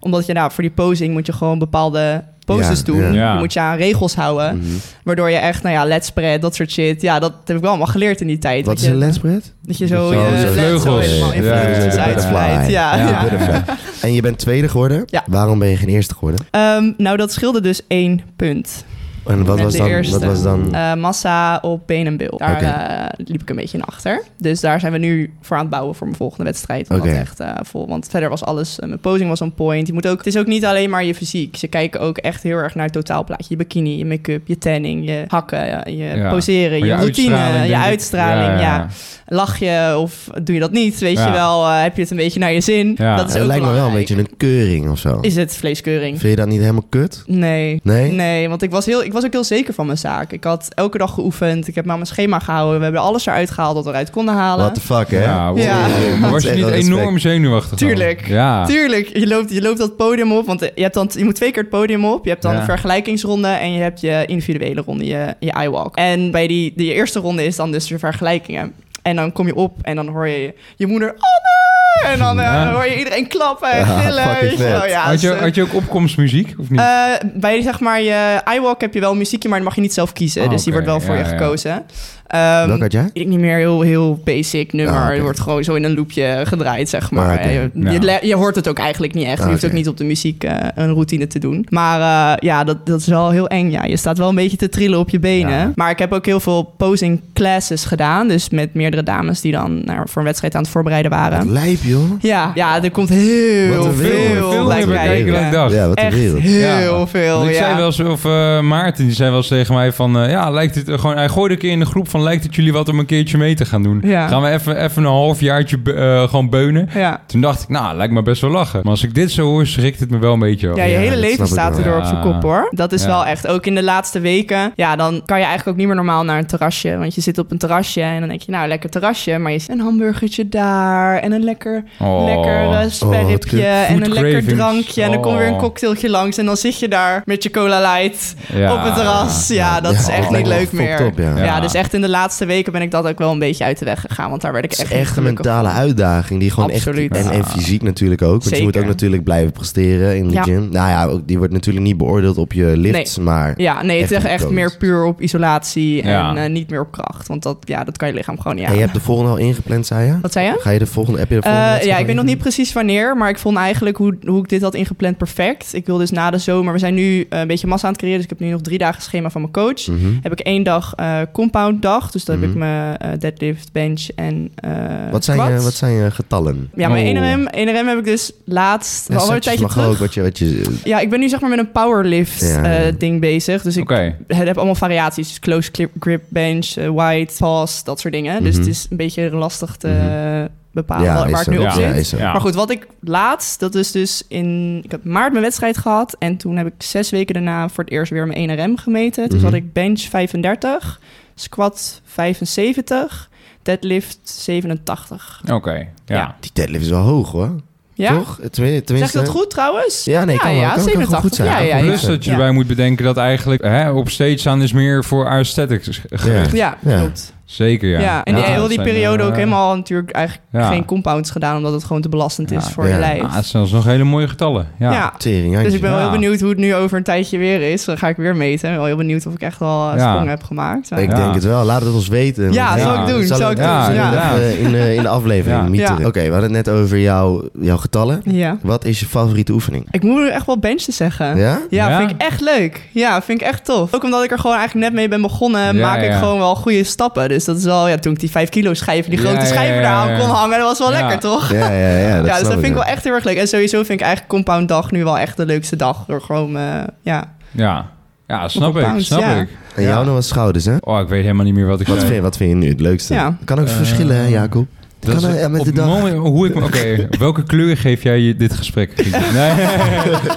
[SPEAKER 4] Omdat je nou, voor die posing moet je gewoon bepaalde poses
[SPEAKER 3] Ja,
[SPEAKER 4] doen.
[SPEAKER 3] ja.
[SPEAKER 1] Ja.
[SPEAKER 4] Je moet je aan regels houden.
[SPEAKER 3] Mhm.
[SPEAKER 4] Waardoor je echt, nou ja, let's spread, dat soort shit. Ja, dat heb ik wel allemaal geleerd in die
[SPEAKER 3] Wat
[SPEAKER 4] tijd. dat
[SPEAKER 3] is
[SPEAKER 4] je,
[SPEAKER 3] een Oh, lensbread?
[SPEAKER 4] Dat je zo,
[SPEAKER 1] Zo,
[SPEAKER 4] je
[SPEAKER 1] zo
[SPEAKER 4] lens
[SPEAKER 1] vleugels.
[SPEAKER 4] zo helemaal in
[SPEAKER 1] Ja, ja, ja.
[SPEAKER 4] vleugels uitspreidt.
[SPEAKER 3] Butterfly.
[SPEAKER 4] Ja,
[SPEAKER 1] Ja.
[SPEAKER 4] ja.
[SPEAKER 3] En je bent tweede geworden.
[SPEAKER 4] Ja.
[SPEAKER 3] Waarom ben je geen eerste geworden?
[SPEAKER 4] <laughs> Ehm, nou, dat scheelde dus één punt.
[SPEAKER 3] En wat
[SPEAKER 4] En
[SPEAKER 3] was
[SPEAKER 4] de
[SPEAKER 3] dan?
[SPEAKER 4] eerste.
[SPEAKER 3] Wat was dan?
[SPEAKER 4] Eh, massa op been en bil. Daar
[SPEAKER 3] Oké.
[SPEAKER 4] eh, liep ik een beetje in achter. Dus daar zijn we nu voor aan het bouwen voor mijn volgende wedstrijd. Om
[SPEAKER 3] Oké.
[SPEAKER 4] dat echt eh, vol. Want verder was alles, eh, mijn posing was on point. Je moet ook, het is ook niet alleen maar je fysiek. Ze kijken ook echt heel erg naar het totaalplaatje. Je bikini, je make-up, je tanning, je hakken, eh, je
[SPEAKER 1] Ja.
[SPEAKER 4] poseren, je,
[SPEAKER 1] Maar
[SPEAKER 4] routine,
[SPEAKER 1] uitstraling,
[SPEAKER 4] je
[SPEAKER 1] denk ik.
[SPEAKER 4] uitstraling. Ja, Lach je of doe je dat niet? Weet
[SPEAKER 1] Ja.
[SPEAKER 4] je wel, eh, heb je het een beetje naar je zin?
[SPEAKER 1] Ja.
[SPEAKER 4] Dat is
[SPEAKER 3] Het
[SPEAKER 4] ook
[SPEAKER 3] lijkt me wel een
[SPEAKER 4] belangrijk.
[SPEAKER 3] beetje een keuring of zo.
[SPEAKER 4] Is het vleeskeuring?
[SPEAKER 3] Vind je dat niet helemaal kut?
[SPEAKER 4] Nee.
[SPEAKER 3] Nee?
[SPEAKER 4] Nee, want ik was, heel, ik was ook heel zeker van mijn zaak. Ik had elke dag geoefend. Ik heb me aan mijn schema gehouden. We hebben alles eruit gehaald wat we eruit konden halen.
[SPEAKER 3] What the fuck, hè?
[SPEAKER 1] Ja, wow.
[SPEAKER 4] Ja.
[SPEAKER 1] Maar was
[SPEAKER 3] Echt
[SPEAKER 1] je
[SPEAKER 3] wel
[SPEAKER 1] niet
[SPEAKER 3] respect.
[SPEAKER 1] enorm zenuwachtig? dan?
[SPEAKER 4] Tuurlijk.
[SPEAKER 1] Ja.
[SPEAKER 4] Tuurlijk, je loopt, je loopt dat podium op. Want eh, je, hebt dan, je moet twee keer het podium op. Je hebt dan
[SPEAKER 1] Ja.
[SPEAKER 4] een vergelijkingsronde en je hebt je individuele ronde, je, je iWalk. En bij die, die eerste ronde is dan dus de vergelijkingen. En dan kom je op en dan hoor je je moeder... Anne! En dan eh,
[SPEAKER 1] Ja.
[SPEAKER 4] hoor je iedereen klappen en
[SPEAKER 3] Ja,
[SPEAKER 4] gillen.
[SPEAKER 3] fucking
[SPEAKER 4] weet je wel.
[SPEAKER 3] vet.
[SPEAKER 4] Ja,
[SPEAKER 1] Had je,
[SPEAKER 4] dus, eh,
[SPEAKER 1] had je ook opkomstmuziek of niet?
[SPEAKER 4] Eh, bij zeg maar je iWalk heb je wel een muziekje, maar die mag je niet zelf kiezen.
[SPEAKER 1] Ah,
[SPEAKER 4] dus die
[SPEAKER 1] oké.
[SPEAKER 4] wordt wel voor
[SPEAKER 1] Ja,
[SPEAKER 4] je
[SPEAKER 1] ja.
[SPEAKER 4] gekozen. Ehm,
[SPEAKER 3] Welk had jij?
[SPEAKER 4] weet ik niet meer, heel, heel basic nummer.
[SPEAKER 3] Ah, oké.
[SPEAKER 4] Je wordt gewoon zo in een loopje gedraaid, zeg maar.
[SPEAKER 3] Ah, oké.
[SPEAKER 4] je,
[SPEAKER 1] Ja.
[SPEAKER 4] je le- je hoort het ook eigenlijk niet echt.
[SPEAKER 3] Ah,
[SPEAKER 4] Je hoeft
[SPEAKER 3] oké.
[SPEAKER 4] ook niet op de muziek eh, een routine te doen. Maar eh, ja, dat, dat is wel heel eng. Ja. Je staat wel een beetje te trillen op je benen.
[SPEAKER 1] Ja.
[SPEAKER 4] Maar ik heb ook heel veel posing classes gedaan. Dus met meerdere dames die dan nou, voor een wedstrijd aan het voorbereiden
[SPEAKER 3] Wat
[SPEAKER 4] waren.
[SPEAKER 3] lijp, joh.
[SPEAKER 4] Ja, ja, er komt heel
[SPEAKER 3] Wat een
[SPEAKER 4] veel,
[SPEAKER 3] wereld.
[SPEAKER 1] Veel
[SPEAKER 4] bij
[SPEAKER 1] meer bekeken dan ik
[SPEAKER 4] kijken.
[SPEAKER 1] dacht.
[SPEAKER 3] Ja, wat een
[SPEAKER 4] Echt
[SPEAKER 3] wereld.
[SPEAKER 4] heel
[SPEAKER 1] Ja.
[SPEAKER 4] veel.
[SPEAKER 1] Want ik
[SPEAKER 4] ja.
[SPEAKER 1] zei wel eens, of eh, Maarten, die zei wel eens tegen mij van... eh, ja, lijkt het, eh, gewoon, hij gooide een keer in de groep van... lijkt het jullie wat om een keertje mee te gaan doen?
[SPEAKER 4] Ja.
[SPEAKER 1] Gaan we even, even een halfjaartje be- eh, gewoon beunen?
[SPEAKER 4] Ja.
[SPEAKER 1] Toen dacht ik, nou, lijkt me best wel lachen. Maar als ik dit zo hoor, schrikt het me wel een beetje. af.
[SPEAKER 4] Ja, je
[SPEAKER 3] Ja,
[SPEAKER 4] hele
[SPEAKER 3] dat
[SPEAKER 4] leven
[SPEAKER 3] snap ik
[SPEAKER 4] staat
[SPEAKER 3] wel.
[SPEAKER 4] erdoor op
[SPEAKER 1] Ja.
[SPEAKER 4] zijn kop hoor. Dat is
[SPEAKER 1] Ja.
[SPEAKER 4] wel echt. Ook in de laatste weken. Ja, dan kan je eigenlijk ook niet meer normaal naar een terrasje. Want je zit op een terrasje en dan denk je, nou, lekker terrasje. Maar je ziet een hamburgertje daar. En een lekker,
[SPEAKER 1] Oh.
[SPEAKER 4] lekker eh, sperripje.
[SPEAKER 3] kut.
[SPEAKER 4] en een
[SPEAKER 1] Food
[SPEAKER 4] lekker
[SPEAKER 1] cravings.
[SPEAKER 4] drankje. En dan komt weer een
[SPEAKER 1] Oh.
[SPEAKER 4] cocktailtje langs. En dan zit je daar met je cola light
[SPEAKER 1] Ja.
[SPEAKER 4] op het terras. Ja, dat
[SPEAKER 3] Ja,
[SPEAKER 4] is
[SPEAKER 3] dat
[SPEAKER 4] echt niet
[SPEAKER 3] lijkt me
[SPEAKER 4] leuk meer.
[SPEAKER 3] fucked up, ja.
[SPEAKER 4] ja.
[SPEAKER 1] Ja.
[SPEAKER 4] dus echt in de laatste weken ben ik dat ook wel een beetje uit de weg gegaan. Want daar werd ik
[SPEAKER 3] Het is
[SPEAKER 4] echt,
[SPEAKER 3] echt een mentale uitdaging die gewoon
[SPEAKER 4] Absoluut.
[SPEAKER 3] echt... En, en
[SPEAKER 4] Ja.
[SPEAKER 3] fysiek natuurlijk ook. Want je
[SPEAKER 4] Zeker.
[SPEAKER 3] moet ook natuurlijk blijven presteren in de
[SPEAKER 4] Ja.
[SPEAKER 3] gym. Nou ja, ook, die wordt natuurlijk niet beoordeeld op je lifts, maar...
[SPEAKER 4] Ja, nee, het
[SPEAKER 3] Echt
[SPEAKER 4] is echt
[SPEAKER 3] niet
[SPEAKER 4] meer puur op isolatie en
[SPEAKER 1] Ja.
[SPEAKER 4] eh, niet meer op kracht. Want dat, ja, dat kan je lichaam gewoon niet
[SPEAKER 3] En
[SPEAKER 4] aan.
[SPEAKER 3] je hebt de volgende al ingepland, zei je?
[SPEAKER 4] Wat zei je?
[SPEAKER 3] Ga je de volgende... Heb je de
[SPEAKER 4] Eh,
[SPEAKER 3] volgende wedstrijd
[SPEAKER 4] ja,
[SPEAKER 3] al
[SPEAKER 4] ik weet nog niet
[SPEAKER 3] ingepland?
[SPEAKER 4] precies wanneer, maar ik vond eigenlijk hoe, hoe ik dit had ingepland perfect. Ik wil dus na de zomer, we zijn nu eh, een beetje massa aan het creëren, dus ik heb nu nog drie dagen schema van mijn coach.
[SPEAKER 3] Mhm.
[SPEAKER 4] Heb ik één dag eh, compound dag, dus dan heb
[SPEAKER 3] Mhm.
[SPEAKER 4] ik mijn eh, deadlift, bench en eh
[SPEAKER 3] Wat zijn, je,
[SPEAKER 4] quads.
[SPEAKER 3] wat zijn je getallen?
[SPEAKER 4] Ja, mijn
[SPEAKER 1] Oh.
[SPEAKER 4] 1RM, 1RM heb ik dus laatst, al een
[SPEAKER 3] setjes
[SPEAKER 4] tijdje
[SPEAKER 3] mag
[SPEAKER 4] terug.
[SPEAKER 3] ook wat je... Wat je
[SPEAKER 4] Ja, ik ben nu zeg maar met een powerlift
[SPEAKER 3] Ja.
[SPEAKER 4] eh, ding bezig, dus ik
[SPEAKER 1] Oké.
[SPEAKER 4] het heb allemaal variaties. Dus close clip, grip, bench, eh, wide, pass, dat soort dingen. Dus
[SPEAKER 3] Mhm.
[SPEAKER 4] het is een beetje lastig te
[SPEAKER 3] Mhm.
[SPEAKER 4] bepalen Ah, waar
[SPEAKER 3] is
[SPEAKER 4] ik
[SPEAKER 3] zo.
[SPEAKER 4] nu op
[SPEAKER 1] Ja,
[SPEAKER 4] zit.
[SPEAKER 3] is zo.
[SPEAKER 1] Ja.
[SPEAKER 4] Maar goed, wat ik laatst, dat is dus in... Ik heb maart mijn wedstrijd gehad. En toen heb ik zes weken daarna voor het eerst weer mijn 1RM gemeten. Toen
[SPEAKER 3] Mhm.
[SPEAKER 4] had ik bench 35, squat 75, deadlift 87.
[SPEAKER 1] Oké, ja.
[SPEAKER 4] Ja.
[SPEAKER 3] Die deadlift is wel hoog, hoor.
[SPEAKER 4] Ja?
[SPEAKER 3] Toch? Tenmin- Tenminste...
[SPEAKER 4] Zeg ik dat goed trouwens?
[SPEAKER 3] Ja, nee, kan
[SPEAKER 4] ja,
[SPEAKER 3] wel. Kan- kan goed
[SPEAKER 4] 87.
[SPEAKER 3] zijn. Kan
[SPEAKER 4] Ja, ja,
[SPEAKER 3] goed
[SPEAKER 4] ja.
[SPEAKER 1] Plus dat je
[SPEAKER 4] Ja.
[SPEAKER 1] erbij moet bedenken dat eigenlijk hè, op stage staan is meer voor aesthetics gericht.
[SPEAKER 4] Ja,
[SPEAKER 3] Ja.
[SPEAKER 4] klopt.
[SPEAKER 1] Zeker, ja.
[SPEAKER 4] Ja, en die,
[SPEAKER 1] Ja,
[SPEAKER 4] heel
[SPEAKER 1] dat
[SPEAKER 4] die
[SPEAKER 1] zijn,
[SPEAKER 4] periode ook
[SPEAKER 1] eh,
[SPEAKER 4] helemaal natuurlijk eigenlijk
[SPEAKER 1] ja.
[SPEAKER 4] geen compounds gedaan, omdat het gewoon te belastend is
[SPEAKER 1] Ja.
[SPEAKER 4] voor
[SPEAKER 3] Ja.
[SPEAKER 4] je lijf.
[SPEAKER 1] Ah, het zijn alsnog hele mooie getallen. Ja.
[SPEAKER 4] Ja.
[SPEAKER 3] Tering,
[SPEAKER 4] Dus
[SPEAKER 3] handje.
[SPEAKER 4] ik ben wel
[SPEAKER 1] Ja.
[SPEAKER 4] heel benieuwd hoe het nu over een tijdje weer is. Dan ga ik weer meten. Ik ben wel heel benieuwd of ik echt wel eh,
[SPEAKER 1] Ja.
[SPEAKER 4] sprongen heb gemaakt. Maar-
[SPEAKER 3] Ik
[SPEAKER 1] Ja.
[SPEAKER 3] denk het wel. Laat het ons weten.
[SPEAKER 4] Ja,
[SPEAKER 1] zal
[SPEAKER 3] zal
[SPEAKER 1] ik doen,
[SPEAKER 4] zal ik
[SPEAKER 1] doen.
[SPEAKER 3] Ja,
[SPEAKER 1] Ja,
[SPEAKER 3] even in, eh, in de aflevering.
[SPEAKER 1] Ja.
[SPEAKER 3] mieteren.
[SPEAKER 4] Ja.
[SPEAKER 3] Oké, we hadden het net over jouw, jouw getallen.
[SPEAKER 4] Ja.
[SPEAKER 3] Wat is je favoriete oefening?
[SPEAKER 4] Ik moet nu echt wel benches zeggen. Ja?
[SPEAKER 3] Ja?
[SPEAKER 1] Ja?
[SPEAKER 4] vind ik echt leuk. Ja, vind ik echt tof. Ook omdat ik er gewoon eigenlijk net mee ben begonnen,
[SPEAKER 1] Ja,
[SPEAKER 4] maak ik
[SPEAKER 1] ja.
[SPEAKER 4] gewoon wel goede stappen. Dus dat is wel, ja, toen ik die 5 kilo schijven, die
[SPEAKER 1] Ja,
[SPEAKER 4] grote
[SPEAKER 1] ja,
[SPEAKER 4] schijven
[SPEAKER 1] ja,
[SPEAKER 4] daar
[SPEAKER 1] ja,
[SPEAKER 4] aan
[SPEAKER 1] ja.
[SPEAKER 4] kon hangen, dat was wel
[SPEAKER 1] Ja.
[SPEAKER 4] lekker, toch?
[SPEAKER 3] Ja, ja, ja.
[SPEAKER 4] Ja,
[SPEAKER 3] dat
[SPEAKER 4] dus
[SPEAKER 3] snap
[SPEAKER 4] dat vind ik
[SPEAKER 3] ja.
[SPEAKER 4] wel echt heel erg leuk. En sowieso vind ik eigenlijk Compound Dag nu wel echt de leukste dag. Door gewoon, eh, ja,
[SPEAKER 1] Ja. Ja, snap ik,
[SPEAKER 4] pounds,
[SPEAKER 1] snap
[SPEAKER 4] ja.
[SPEAKER 1] ik.
[SPEAKER 3] En jou nog wat schouders, hè?
[SPEAKER 1] Oh, ik weet helemaal niet meer wat ik
[SPEAKER 3] Wat
[SPEAKER 1] zei.
[SPEAKER 3] vind, wat vind je nu het leukste?
[SPEAKER 4] Ja.
[SPEAKER 3] Kan ook
[SPEAKER 1] Eh,
[SPEAKER 3] verschillen, hè, Jacob?
[SPEAKER 1] Dat
[SPEAKER 3] kan
[SPEAKER 1] is-
[SPEAKER 3] eh, met
[SPEAKER 1] op
[SPEAKER 3] de
[SPEAKER 1] het
[SPEAKER 3] dag.
[SPEAKER 1] moment- hoe ik, me- oké,
[SPEAKER 3] <laughs>
[SPEAKER 1] welke kleur geef jij je dit gesprek? Grietje? Nee,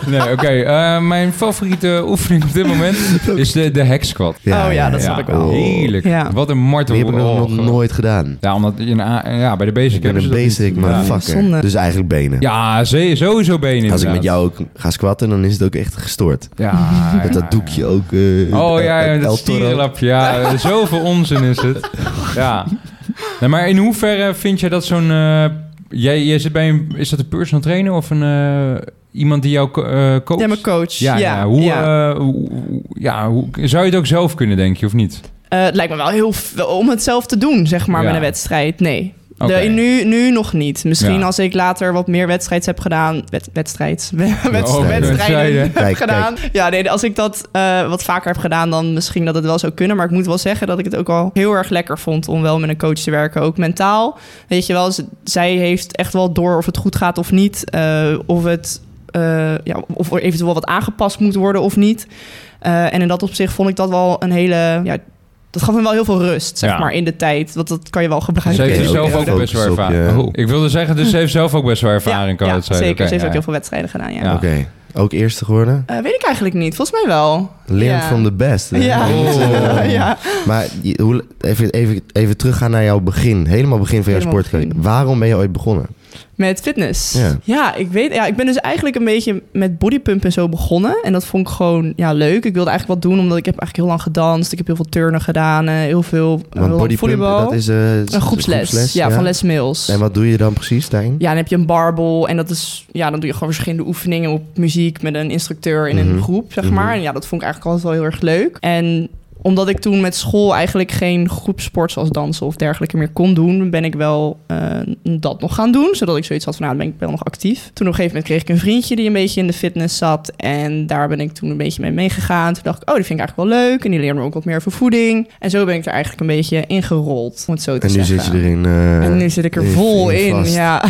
[SPEAKER 1] nee oké. eh, mijn favoriete oefening op dit
[SPEAKER 3] <laughs>
[SPEAKER 1] moment is de, de hack squat.
[SPEAKER 4] Oh ja, dat snap ik wel.
[SPEAKER 1] Heerlijk.
[SPEAKER 4] Ja.
[SPEAKER 1] Wat een martel.
[SPEAKER 3] Die heb ik nog, nog
[SPEAKER 1] Oh, gewoon.
[SPEAKER 3] nooit gedaan.
[SPEAKER 1] Ja, omdat je een A- ja, bij de
[SPEAKER 3] Ik
[SPEAKER 1] basic
[SPEAKER 3] ben
[SPEAKER 1] hebben
[SPEAKER 3] een
[SPEAKER 1] ze dus dat
[SPEAKER 3] basic,
[SPEAKER 1] niet.
[SPEAKER 3] maar
[SPEAKER 1] ja.
[SPEAKER 3] fucker.
[SPEAKER 4] Zonde.
[SPEAKER 3] Dus eigenlijk benen.
[SPEAKER 1] Ja, ze- sowieso benen
[SPEAKER 3] Als ik met
[SPEAKER 1] inderdaad.
[SPEAKER 3] jou ook ga squatten, dan is het ook echt gestoort.
[SPEAKER 1] Ja,
[SPEAKER 3] <laughs> Met
[SPEAKER 1] ja,
[SPEAKER 3] dat
[SPEAKER 1] ja.
[SPEAKER 3] doekje ook. eh,
[SPEAKER 1] Oh
[SPEAKER 3] El-
[SPEAKER 1] ja, ja,
[SPEAKER 3] El
[SPEAKER 1] dat
[SPEAKER 3] Toro.
[SPEAKER 1] stierenlapje.
[SPEAKER 3] <laughs>
[SPEAKER 1] Ja, zoveel onzin is het. Ja. Nee, maar in hoeverre vind jij dat zo'n... eh, jij, jij zit bij een... Is dat een personal trainer of een, eh, iemand die jou co- eh coacht?
[SPEAKER 4] Ja, mijn coach.
[SPEAKER 1] Ja, ja. Hoe, eh, hoe- hoe- ja hoe, zou je het ook zelf kunnen, denk je, of niet?
[SPEAKER 4] Eh, het lijkt me wel heel veel om het zelf te doen, zeg maar,
[SPEAKER 1] Ja.
[SPEAKER 4] met een wedstrijd. Nee. De-
[SPEAKER 1] Oké.
[SPEAKER 4] nu, nu nog niet. Misschien
[SPEAKER 1] Ja.
[SPEAKER 4] als ik later wat meer wedstrijds heb gedaan. Wed, wedstrijds. <laughs> Wedst-
[SPEAKER 1] Oh, wedstrijden.
[SPEAKER 4] wedstrijden heb
[SPEAKER 3] Kijk,
[SPEAKER 4] gedaan. Ja, nee, als ik dat eh, wat vaker heb gedaan, dan misschien dat het wel zou kunnen. Maar ik moet wel zeggen dat ik het ook al heel erg lekker vond om wel met een coach te werken. Ook mentaal. Weet je wel, z- zij heeft echt wel door of het goed gaat of niet. eh, of het. eh, ja, of er eventueel wat aangepast moet worden of niet. Eh, en in dat opzicht vond ik dat wel een hele. Ja, dat gaf me wel heel veel rust, zeg
[SPEAKER 1] Ja.
[SPEAKER 4] maar, in de tijd. Want dat kan je wel
[SPEAKER 1] Ze
[SPEAKER 4] gebruiken.
[SPEAKER 1] heeft
[SPEAKER 3] Oké,
[SPEAKER 1] dus zelf
[SPEAKER 3] oké.
[SPEAKER 1] ook best wel
[SPEAKER 3] Focus op
[SPEAKER 1] ervaring.
[SPEAKER 3] je-
[SPEAKER 1] Oh, Ik wilde zeggen, dus ze heeft zelf ook best wel ervaring, kan
[SPEAKER 4] ja,
[SPEAKER 1] het zijn.
[SPEAKER 4] Zeker,
[SPEAKER 1] Oké,
[SPEAKER 4] ze heeft
[SPEAKER 1] ja,
[SPEAKER 4] ook
[SPEAKER 1] ja.
[SPEAKER 4] heel veel wedstrijden gedaan, ja.
[SPEAKER 1] Ja.
[SPEAKER 3] Oké. Ook eerste geworden?
[SPEAKER 4] Eh, weet ik eigenlijk niet. Volgens mij wel.
[SPEAKER 3] Learn
[SPEAKER 4] Ja.
[SPEAKER 3] from the best. hè?
[SPEAKER 4] Ja.
[SPEAKER 1] Oh.
[SPEAKER 4] <laughs> ja.
[SPEAKER 3] Maar je- hoe, even, even, even teruggaan naar jouw begin. Helemaal begin van jouw
[SPEAKER 4] Helemaal
[SPEAKER 3] sportcarrière.
[SPEAKER 4] begin.
[SPEAKER 3] Waarom ben je ooit begonnen?
[SPEAKER 4] Met fitness.
[SPEAKER 3] Ja.
[SPEAKER 4] Ja. ik weet. Ja, ik ben dus eigenlijk een beetje met bodypump en zo begonnen. En dat vond ik gewoon ja, leuk. Ik wilde eigenlijk wat doen, omdat ik heb eigenlijk heel lang gedanst. Ik heb heel veel turnen gedaan, eh, heel veel eh, heel
[SPEAKER 3] Want
[SPEAKER 4] lang
[SPEAKER 3] bodypump,
[SPEAKER 4] volleybal.
[SPEAKER 3] dat is eh,
[SPEAKER 4] een groepsles. ja, van Les Mills.
[SPEAKER 3] En wat doe je dan precies, Stijn?
[SPEAKER 4] Ja, dan heb je een barbel en dat is, ja, dan doe je gewoon verschillende oefeningen op muziek met een instructeur in
[SPEAKER 3] Mhm.
[SPEAKER 4] een groep, zeg maar.
[SPEAKER 3] Mhm.
[SPEAKER 4] En ja, dat vond ik eigenlijk altijd wel heel erg leuk. En omdat ik toen met school eigenlijk geen groepsport zoals dansen of dergelijke meer kon doen, ben ik wel eh, dat nog gaan doen. Zodat ik zoiets had van, nou, dan ben ik wel nog actief. Toen op een gegeven moment kreeg ik een vriendje die een beetje in de fitness zat. En daar ben ik toen een beetje mee meegegaan. Toen dacht ik, oh, die vind ik eigenlijk wel leuk. En die leerde me ook wat meer over voeding. En zo ben ik er eigenlijk een beetje ingerold, om het zo
[SPEAKER 3] En
[SPEAKER 4] te
[SPEAKER 3] nu
[SPEAKER 4] zeggen.
[SPEAKER 3] zit je erin. eh,
[SPEAKER 4] en nu zit ik er
[SPEAKER 3] in-
[SPEAKER 4] vol
[SPEAKER 3] in
[SPEAKER 4] in,
[SPEAKER 3] vast.
[SPEAKER 4] ja.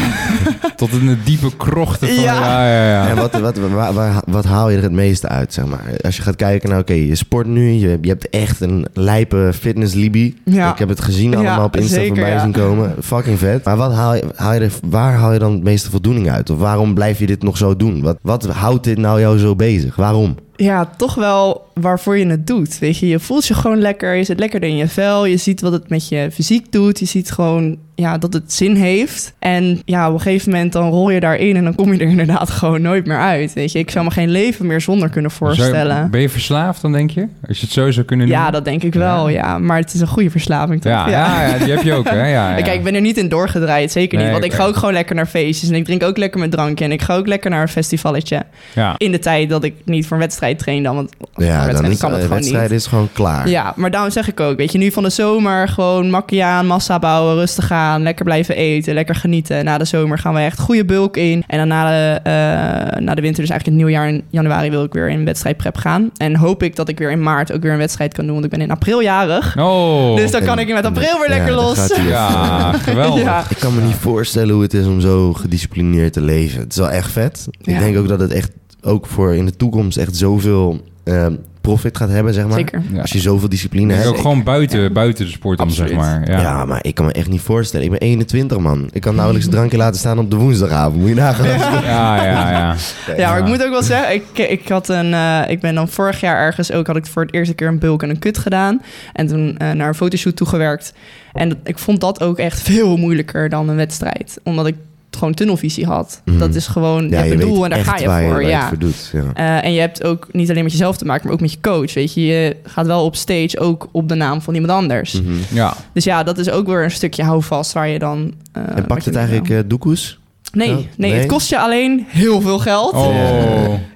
[SPEAKER 1] Tot in de diepe krochten van...
[SPEAKER 4] Ja.
[SPEAKER 1] Ja, ja, ja.
[SPEAKER 3] En wat, wat, waar- waar- wat haal je er het meeste uit, zeg maar? Als je gaat kijken naar, oké, je sport nu. Je, je hebt echt een lijpe fitnesslibie.
[SPEAKER 4] Ja.
[SPEAKER 3] Ik heb het gezien allemaal
[SPEAKER 4] Ja,
[SPEAKER 3] op Insta
[SPEAKER 4] zeker,
[SPEAKER 3] voorbij
[SPEAKER 4] ja.
[SPEAKER 3] zien komen. Fucking vet. Maar wat haal je, haal je er, waar haal je dan het meeste voldoening uit? Of waarom blijf je dit nog zo doen? Wat, wat houdt dit nou jou zo bezig? Waarom?
[SPEAKER 4] ja, toch wel waarvoor je het doet. Weet je, je voelt je gewoon lekker. Je zit lekkerder in je vel. Je ziet wat het met je fysiek doet. Je ziet gewoon ja, dat het zin heeft. En ja, op een gegeven moment dan rol je daarin en dan kom je er <laughs> inderdaad gewoon nooit meer uit. Weet je, ik zou me geen leven meer zonder kunnen
[SPEAKER 1] Zou-
[SPEAKER 4] voorstellen.
[SPEAKER 1] ben je verslaafd dan, denk je? Als je het zo zou kunnen
[SPEAKER 4] Ja,
[SPEAKER 1] noemen?
[SPEAKER 4] dat denk ik wel.
[SPEAKER 1] Ja.
[SPEAKER 4] Ja. maar het is een goede verslaving toch?
[SPEAKER 1] Ja, ja.
[SPEAKER 4] <laughs>
[SPEAKER 1] ja, die heb je ook, hè? Ja, ja.
[SPEAKER 4] Kijk, <laughs> ik ben er niet in doorgedraaid, zeker
[SPEAKER 1] Nee,
[SPEAKER 4] niet. Want ik
[SPEAKER 1] oké.
[SPEAKER 4] ga ook gewoon lekker naar feestjes en ik drink ook lekker mijn drankje en ik ga ook lekker naar een festivalletje.
[SPEAKER 1] ja.
[SPEAKER 4] In de tijd dat ik niet voor een wedstrijd train dan, want voor een wedstrijd
[SPEAKER 3] is
[SPEAKER 4] kan het
[SPEAKER 3] eh,
[SPEAKER 4] gewoon niet.
[SPEAKER 3] wedstrijd is gewoon klaar.
[SPEAKER 4] Ja, maar daarom zeg ik ook, weet je, nu van de zomer gewoon makkie aan, massa bouwen, rustig aan, lekker blijven eten, lekker genieten. Na de zomer gaan we echt goede bulk in. En dan na de, eh, na de winter, dus eigenlijk het nieuwjaar in januari, wil ik weer in wedstrijdprep gaan. En hoop ik dat ik weer in maart ook weer een wedstrijd kan doen, want ik ben in april jarig.
[SPEAKER 1] Oh.
[SPEAKER 4] dus dan kan ik met april weer lekker
[SPEAKER 3] Ja, dan
[SPEAKER 4] los.
[SPEAKER 3] gaat hij
[SPEAKER 1] Ja, geweldig.
[SPEAKER 4] Ja.
[SPEAKER 3] Ik kan me niet voorstellen hoe het is om zo gedisciplineerd te leven. Het is wel echt vet. Ik
[SPEAKER 4] Ja.
[SPEAKER 3] denk ook dat het echt ook voor in de toekomst echt zoveel ehm, profit gaat hebben, zeg maar.
[SPEAKER 4] <laughs> Zeker.
[SPEAKER 1] Ja.
[SPEAKER 3] Als je zoveel discipline
[SPEAKER 1] Dus
[SPEAKER 3] hebt.
[SPEAKER 1] ook gewoon buiten, buiten de sport om, zeg
[SPEAKER 4] Absoluut.
[SPEAKER 1] maar.
[SPEAKER 3] ja.
[SPEAKER 1] Ja.
[SPEAKER 3] maar ik kan me echt niet voorstellen. Ik ben 21, man. Ik kan nauwelijks een drankje laten staan op de woensdagavond. Moet je nagaan.
[SPEAKER 1] Ja, ja, ja.
[SPEAKER 4] Ja, maar ik moet ook wel zeggen, ik, ik, had een, eh, ik ben dan vorig jaar ergens ook, had ik voor het eerste keer een bulk en een kut gedaan. En toen eh, naar een fotoshoot toegewerkt. En dat- ik vond dat ook echt veel moeilijker dan een wedstrijd. Omdat ik gewoon tunnelvisie had.
[SPEAKER 3] Mhm.
[SPEAKER 4] Dat is gewoon, je hebt een doel en daar ga je
[SPEAKER 3] waar
[SPEAKER 4] voor.
[SPEAKER 3] waar je het
[SPEAKER 4] ja.
[SPEAKER 3] voor doet. Ja.
[SPEAKER 4] Eh, en je hebt ook niet alleen met jezelf te maken, maar ook met je coach. Weet je, je gaat wel op stage ook op de naam van iemand anders.
[SPEAKER 3] Mhm.
[SPEAKER 4] <laughs>
[SPEAKER 1] Ja.
[SPEAKER 4] Dus ja, dat is ook weer een stukje houvast waar je dan... eh,
[SPEAKER 3] en pakt
[SPEAKER 4] wat je
[SPEAKER 3] het
[SPEAKER 4] moet
[SPEAKER 3] eigenlijk
[SPEAKER 4] doen.
[SPEAKER 3] eh doekoes?
[SPEAKER 4] nee,
[SPEAKER 3] ja,
[SPEAKER 4] nee,
[SPEAKER 3] nee.
[SPEAKER 4] het kost je alleen heel veel geld.
[SPEAKER 1] Oh.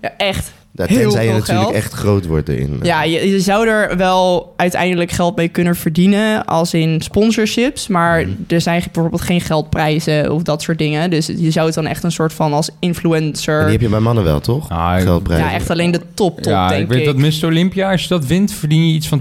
[SPEAKER 4] Ja, echt
[SPEAKER 3] Ja,
[SPEAKER 4] Heel
[SPEAKER 3] tenzij je
[SPEAKER 4] veel
[SPEAKER 3] natuurlijk
[SPEAKER 4] geld.
[SPEAKER 3] echt groot wordt eh, erin.
[SPEAKER 4] Ja, je, je zou er wel uiteindelijk geld mee kunnen verdienen, als in sponsorships. Maar
[SPEAKER 3] Mhm.
[SPEAKER 4] er zijn bijvoorbeeld geen geldprijzen of dat soort dingen. Dus je zou het dan echt een soort van als
[SPEAKER 3] En
[SPEAKER 4] influencer.
[SPEAKER 3] die heb je bij mannen wel, toch?
[SPEAKER 1] Ah, ik-
[SPEAKER 3] Geldprijzen.
[SPEAKER 4] ja, echt alleen de top, top,
[SPEAKER 1] ja,
[SPEAKER 4] denk
[SPEAKER 1] ik weet dat Miss Olympia, als je dat wint, verdien je iets van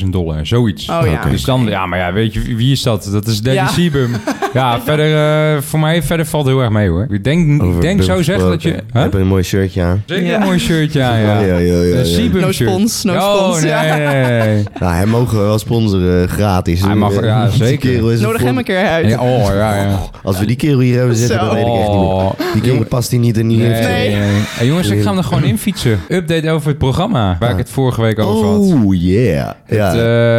[SPEAKER 1] 250.000 dollar. Zoiets.
[SPEAKER 4] Oh ja.
[SPEAKER 1] Dus dan, ja, maar ja, weet je, wie is dat? Dat is Danny
[SPEAKER 4] Ja. <laughs>
[SPEAKER 1] Siebum. Ja, verder, eh, voor mij verder valt het heel erg mee hoor. Ik denk, ik
[SPEAKER 3] Over
[SPEAKER 1] denk
[SPEAKER 3] bump
[SPEAKER 1] zou zeggen dat je...
[SPEAKER 3] gesproken.
[SPEAKER 1] Huh?
[SPEAKER 3] Heb je een mooi shirtje aan?
[SPEAKER 1] Zeker
[SPEAKER 4] Ja.
[SPEAKER 1] een mooi shirtje aan, ja. Dus
[SPEAKER 3] Ja, ja, ja, ja,
[SPEAKER 1] Een
[SPEAKER 3] ja.
[SPEAKER 1] Seabum
[SPEAKER 4] No
[SPEAKER 1] shirt.
[SPEAKER 4] spons, no
[SPEAKER 1] oh,
[SPEAKER 4] spons,
[SPEAKER 1] Nee,
[SPEAKER 4] ja.
[SPEAKER 1] nee,
[SPEAKER 4] <laughs>
[SPEAKER 1] nee.
[SPEAKER 3] Nou, hij mogen we wel sponsoren eh, gratis.
[SPEAKER 1] Hij mag-
[SPEAKER 3] Eh,
[SPEAKER 1] ja,
[SPEAKER 3] die
[SPEAKER 1] zeker.
[SPEAKER 3] kerel is een
[SPEAKER 4] Nodig hem een
[SPEAKER 3] voorbeeld.
[SPEAKER 4] keer uit.
[SPEAKER 1] Ja, Oh, ja, ja. Oh,
[SPEAKER 3] Als we die kerel hier hebben zitten,
[SPEAKER 4] Zo.
[SPEAKER 3] dan weet ik echt niet meer. Die kerel past hier niet en die heeft...
[SPEAKER 4] Nee.
[SPEAKER 1] Hey, jongens, ik ga hem er
[SPEAKER 3] <laughs>
[SPEAKER 1] gewoon in fietsen. Update over het programma, waar ik het vorige week over had.
[SPEAKER 3] Oh, yeah.
[SPEAKER 1] Het,
[SPEAKER 3] Ja.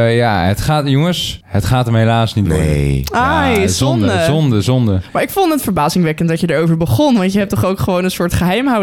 [SPEAKER 1] eh, ja, het gaat, jongens, het gaat hem helaas niet worden.
[SPEAKER 3] Nee.
[SPEAKER 4] Ai,
[SPEAKER 1] Ja,
[SPEAKER 4] zonde.
[SPEAKER 1] Zonde, zonde.
[SPEAKER 4] Maar ik vond het verbazingwekkend dat je erover begon. Want je hebt toch ook gewoon een soort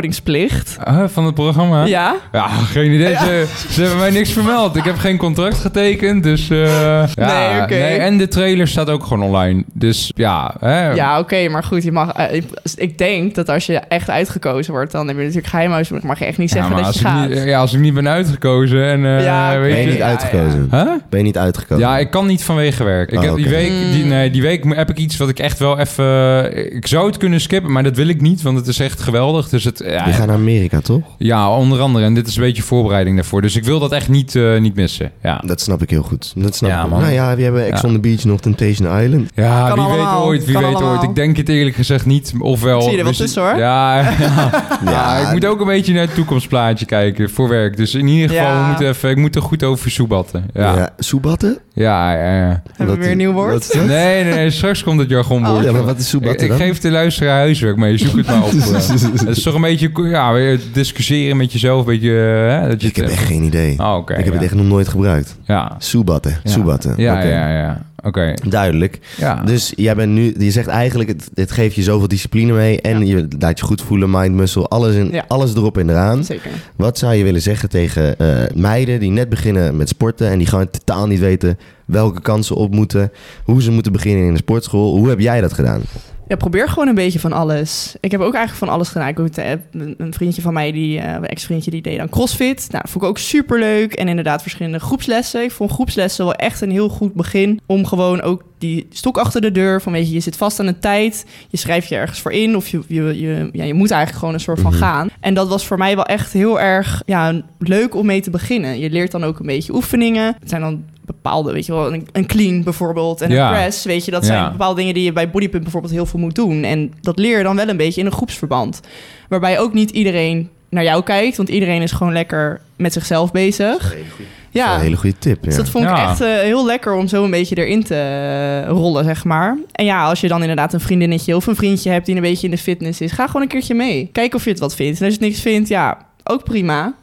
[SPEAKER 4] geheimhoudingsplicht?
[SPEAKER 1] Huh, Eh, van het programma?
[SPEAKER 4] Ja?
[SPEAKER 1] Ja, geen idee. Ze, ze hebben mij niks vermeld. Ik heb geen contract getekend, dus... eh, ja,
[SPEAKER 4] Nee, oké.
[SPEAKER 1] En de trailer staat ook gewoon online. Dus ja, hè.
[SPEAKER 4] Ja, oké, maar goed, je mag. eh, ik- ik denk dat als je echt uitgekozen wordt, dan heb je natuurlijk geheimhuiselijk. Mag je echt niet
[SPEAKER 1] Ja,
[SPEAKER 4] zeggen
[SPEAKER 1] maar
[SPEAKER 4] dat
[SPEAKER 1] als
[SPEAKER 4] je
[SPEAKER 1] ik,
[SPEAKER 4] gaat.
[SPEAKER 1] niet, ja, als ik niet ben uitgekozen en eh,
[SPEAKER 4] Ja, oké.
[SPEAKER 1] weet
[SPEAKER 3] Ben je
[SPEAKER 1] je...
[SPEAKER 3] niet uitgekozen?
[SPEAKER 1] Huh?
[SPEAKER 3] Ben je niet uitgekozen?
[SPEAKER 1] Ja, ik kan Ah, niet vanwege werk. Ik
[SPEAKER 3] Oh,
[SPEAKER 1] heb die,
[SPEAKER 3] oké.
[SPEAKER 1] week,
[SPEAKER 4] Hmm.
[SPEAKER 1] die, nee, die week heb ik iets wat ik echt wel even... eh, Ik zou het kunnen skippen, maar dat wil ik niet, want het is echt geweldig. Dus het, ja,
[SPEAKER 3] We gaan naar Amerika, toch?
[SPEAKER 1] ja, onder andere. En dit is een beetje voorbereiding daarvoor. Dus ik wil dat echt niet, eh, niet missen. Ja,
[SPEAKER 3] Dat snap ik heel goed. Dat snap
[SPEAKER 1] Ja,
[SPEAKER 3] ik.
[SPEAKER 1] man.
[SPEAKER 3] Nou ja, we hebben Ex
[SPEAKER 1] Ja.
[SPEAKER 3] on the Beach nog Temptation Island.
[SPEAKER 1] ja
[SPEAKER 4] Kan
[SPEAKER 1] wie
[SPEAKER 4] allemaal.
[SPEAKER 1] weet ooit, wie
[SPEAKER 4] Kan
[SPEAKER 1] weet
[SPEAKER 4] allemaal.
[SPEAKER 1] ooit. Ik denk het eerlijk gezegd niet. Ofwel...
[SPEAKER 4] Zie je er wel
[SPEAKER 1] dus-
[SPEAKER 4] tussen, hoor.
[SPEAKER 1] Ja, <laughs> ja, Ja, ik moet ook een beetje naar het toekomstplaatje kijken voor werk. Dus in ieder geval,
[SPEAKER 4] Ja.
[SPEAKER 1] we moeten even, ik moet er goed over soebatten. Ja, ja,
[SPEAKER 3] Ja, soebatten?
[SPEAKER 1] ja. ja,
[SPEAKER 4] Hebben we weer een nieuw woord?
[SPEAKER 3] Wat is dat?
[SPEAKER 1] Nee, nee, nee, straks komt het
[SPEAKER 4] Oh,
[SPEAKER 1] jargonwoord.
[SPEAKER 3] Ja, maar wat is
[SPEAKER 1] Ik,
[SPEAKER 3] soebatten
[SPEAKER 1] ik
[SPEAKER 3] dan?
[SPEAKER 1] geef de luisteraar huiswerk mee. Zoek het
[SPEAKER 3] <laughs>
[SPEAKER 1] maar op. Het is toch een beetje ja, weer discussiëren met jezelf. Een beetje, eh, dat je
[SPEAKER 3] Ik heb
[SPEAKER 1] het-
[SPEAKER 3] echt geen idee.
[SPEAKER 1] Oh, oké.
[SPEAKER 3] ik heb
[SPEAKER 1] ja.
[SPEAKER 3] het echt nog nooit gebruikt.
[SPEAKER 1] Ja.
[SPEAKER 3] Soebatten.
[SPEAKER 1] Ja.
[SPEAKER 3] Soebatten.
[SPEAKER 1] Ja,
[SPEAKER 3] Oké.
[SPEAKER 1] ja, ja. Oké.
[SPEAKER 3] Duidelijk.
[SPEAKER 1] Ja.
[SPEAKER 3] Dus jij bent nu, je zegt eigenlijk, het, het geeft je zoveel discipline mee en je laat je goed voelen, mind muscle, alles, in,
[SPEAKER 4] Ja.
[SPEAKER 3] alles erop en eraan.
[SPEAKER 4] Zeker.
[SPEAKER 3] Wat zou je willen zeggen tegen eh, meiden die net beginnen met sporten en die gewoon totaal niet weten welke kansen op moeten, hoe ze moeten beginnen in de sportschool? Hoe heb jij dat gedaan?
[SPEAKER 4] Ja, probeer gewoon een beetje van alles. Ik heb ook eigenlijk van alles gedaan. Ik heb eh, een een vriendje van mij, die, eh, een ex-vriendje, die deed dan crossfit. Nou, dat vond ik ook superleuk. En inderdaad verschillende groepslessen. Ik vond groepslessen wel echt een heel goed begin. Om gewoon ook die stok achter de deur. Van weet je, je zit vast aan een tijd. Je schrijft je ergens voor in. Of je, je, je, ja, je moet eigenlijk gewoon een soort van
[SPEAKER 3] Mhm.
[SPEAKER 4] gaan. En dat was voor mij wel echt heel erg ja, leuk om mee te beginnen. Je leert dan ook een beetje oefeningen. Het zijn dan bepaalde, weet je wel, een, een clean bijvoorbeeld. En
[SPEAKER 1] Ja.
[SPEAKER 4] een press, weet je. Dat zijn
[SPEAKER 1] Ja.
[SPEAKER 4] bepaalde dingen die je bij bodypump bijvoorbeeld heel veel moet doen. En dat leer je dan wel een beetje in een groepsverband. Waarbij ook niet iedereen naar jou kijkt, want iedereen is gewoon lekker met zichzelf bezig.
[SPEAKER 3] Dat is wel
[SPEAKER 4] Ja,
[SPEAKER 3] Een hele goede tip.
[SPEAKER 4] dus
[SPEAKER 3] ja.
[SPEAKER 4] dat vond ik
[SPEAKER 1] Ja.
[SPEAKER 4] echt eh, heel lekker om zo een beetje erin te eh, rollen, zeg maar. En ja, als je dan inderdaad een vriendinnetje of een vriendje hebt die een beetje in de fitness is, ga gewoon een keertje mee. Kijk of je het wat vindt. En als je het niks vindt, ja, ook prima.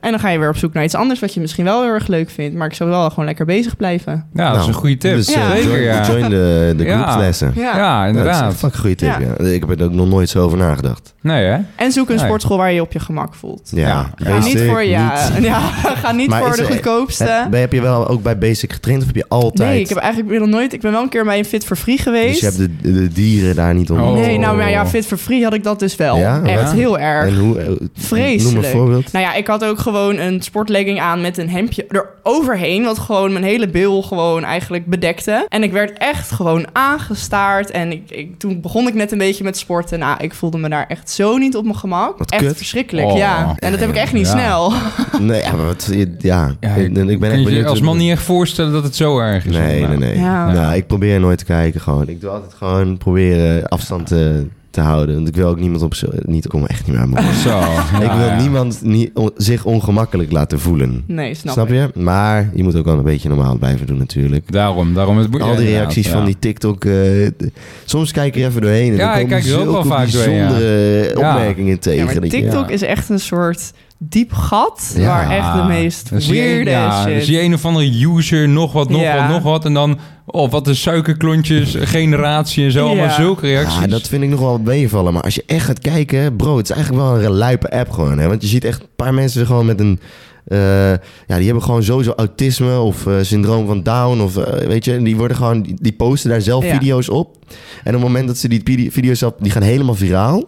[SPEAKER 4] En dan ga je weer op zoek naar iets anders wat je misschien wel heel erg leuk vindt. Maar ik zou wel gewoon lekker bezig blijven.
[SPEAKER 1] Ja, dat is
[SPEAKER 3] Nou,
[SPEAKER 1] een goede tip.
[SPEAKER 3] Dus, eh,
[SPEAKER 4] Ja.
[SPEAKER 1] Zeker,
[SPEAKER 3] join,
[SPEAKER 1] ja.
[SPEAKER 3] join de, de
[SPEAKER 1] Ja.
[SPEAKER 3] groepslessen.
[SPEAKER 4] Ja.
[SPEAKER 1] Ja,
[SPEAKER 3] Dat is
[SPEAKER 1] inderdaad.
[SPEAKER 3] een fucking goede tip.
[SPEAKER 4] Ja.
[SPEAKER 3] Ja. Ik heb er ook nog nooit zo over nagedacht.
[SPEAKER 1] Nee, hè?
[SPEAKER 4] En zoek een
[SPEAKER 1] Nee.
[SPEAKER 4] sportschool waar je je op je gemak voelt.
[SPEAKER 3] Ja,
[SPEAKER 1] Ja.
[SPEAKER 4] Ga niet
[SPEAKER 3] basic,
[SPEAKER 4] voor, ja,
[SPEAKER 3] niet-
[SPEAKER 4] <laughs> ja, ga niet
[SPEAKER 3] Maar
[SPEAKER 4] voor
[SPEAKER 3] is
[SPEAKER 4] de
[SPEAKER 3] er-
[SPEAKER 4] goedkoopste.
[SPEAKER 3] Heb, ben- heb je wel ook bij Basic getraind of heb je altijd?
[SPEAKER 4] Nee, ik heb eigenlijk nog nooit. Ik ben wel een keer bij een Fit for Free geweest.
[SPEAKER 3] Dus je hebt de, de dieren daar niet onder.
[SPEAKER 1] Oh.
[SPEAKER 4] Nee, nou maar ja, Fit for Free had ik dat dus wel.
[SPEAKER 3] Ja?
[SPEAKER 4] Echt
[SPEAKER 1] Ja.
[SPEAKER 4] heel erg.
[SPEAKER 3] En hoe, eh,
[SPEAKER 4] Vreselijk.
[SPEAKER 3] Noem een voorbeeld.
[SPEAKER 4] Nou ja, ik had ook gewoon een sportlegging aan met een hemdje eroverheen. Wat gewoon mijn hele bil gewoon eigenlijk bedekte. En ik werd echt gewoon aangestaard. En ik, ik, toen begon ik net een beetje met sporten. Nou, ik voelde me daar echt zo niet op mijn gemak.
[SPEAKER 3] Wat
[SPEAKER 4] echt
[SPEAKER 3] kut.
[SPEAKER 4] verschrikkelijk,
[SPEAKER 1] Oh.
[SPEAKER 4] ja. En dat heb ik echt niet
[SPEAKER 1] Ja.
[SPEAKER 4] snel. <laughs>
[SPEAKER 3] Nee, ja, maar wat, ja.
[SPEAKER 1] Ja,
[SPEAKER 3] ik, ik ben
[SPEAKER 1] Kun
[SPEAKER 3] echt
[SPEAKER 1] je
[SPEAKER 3] benieuwd.
[SPEAKER 1] je als man niet echt voorstellen dat het zo erg is?
[SPEAKER 3] Nee, nee, nee.
[SPEAKER 4] Ja.
[SPEAKER 3] Nou, ik probeer nooit te kijken gewoon. Ik doe altijd gewoon proberen afstand te, te houden. Want ik wil ook niemand op zo- niet Ik kom echt niet meer aan mijn woorden.
[SPEAKER 1] Zo.
[SPEAKER 3] <laughs> Ik
[SPEAKER 1] Ah, ja,
[SPEAKER 3] wil
[SPEAKER 1] ja.
[SPEAKER 3] niemand nie- on- zich ongemakkelijk laten voelen.
[SPEAKER 4] Nee, snap,
[SPEAKER 3] Snap
[SPEAKER 4] ik.
[SPEAKER 3] je? Maar je moet ook wel een beetje normaal blijven doen natuurlijk.
[SPEAKER 1] Daarom, daarom. Het moet-
[SPEAKER 3] Al die
[SPEAKER 1] ja,
[SPEAKER 3] reacties
[SPEAKER 1] inderdaad, ja.
[SPEAKER 3] van die TikTok. eh, d- soms kijk ik er even doorheen. En
[SPEAKER 1] Ja,
[SPEAKER 3] dan
[SPEAKER 1] ik
[SPEAKER 3] komen
[SPEAKER 1] kijk er ook wel
[SPEAKER 3] zulke
[SPEAKER 1] vaak doorheen, ja.
[SPEAKER 3] bijzondere
[SPEAKER 1] Ja.
[SPEAKER 3] opmerkingen tegen.
[SPEAKER 4] Ja, maar
[SPEAKER 3] dat je-
[SPEAKER 4] TikTok
[SPEAKER 1] ja.
[SPEAKER 4] is echt een soort diep gat
[SPEAKER 3] Ja.
[SPEAKER 4] waar echt de meest
[SPEAKER 1] Dan zie je-
[SPEAKER 4] weirde
[SPEAKER 1] ja, dan
[SPEAKER 4] shit.
[SPEAKER 1] zie je een of andere user, nog wat, nog
[SPEAKER 4] Ja.
[SPEAKER 1] wat, nog wat. En dan, oh, wat de suikerklontjes, generatie en zo.
[SPEAKER 4] Ja.
[SPEAKER 1] Allemaal zulke reacties.
[SPEAKER 3] Ja, dat vind ik nog wel meevallen. Maar als je echt gaat kijken, bro, het is eigenlijk wel een luipe app gewoon. Hè? Want je ziet echt een paar mensen gewoon met een. eh, ja, die hebben gewoon sowieso autisme of eh, syndroom van Down. Of eh, weet je, en die worden gewoon. Die, die posten daar zelf
[SPEAKER 4] Ja.
[SPEAKER 3] video's op. En op het moment dat ze die pide- video's op, die gaan helemaal viraal.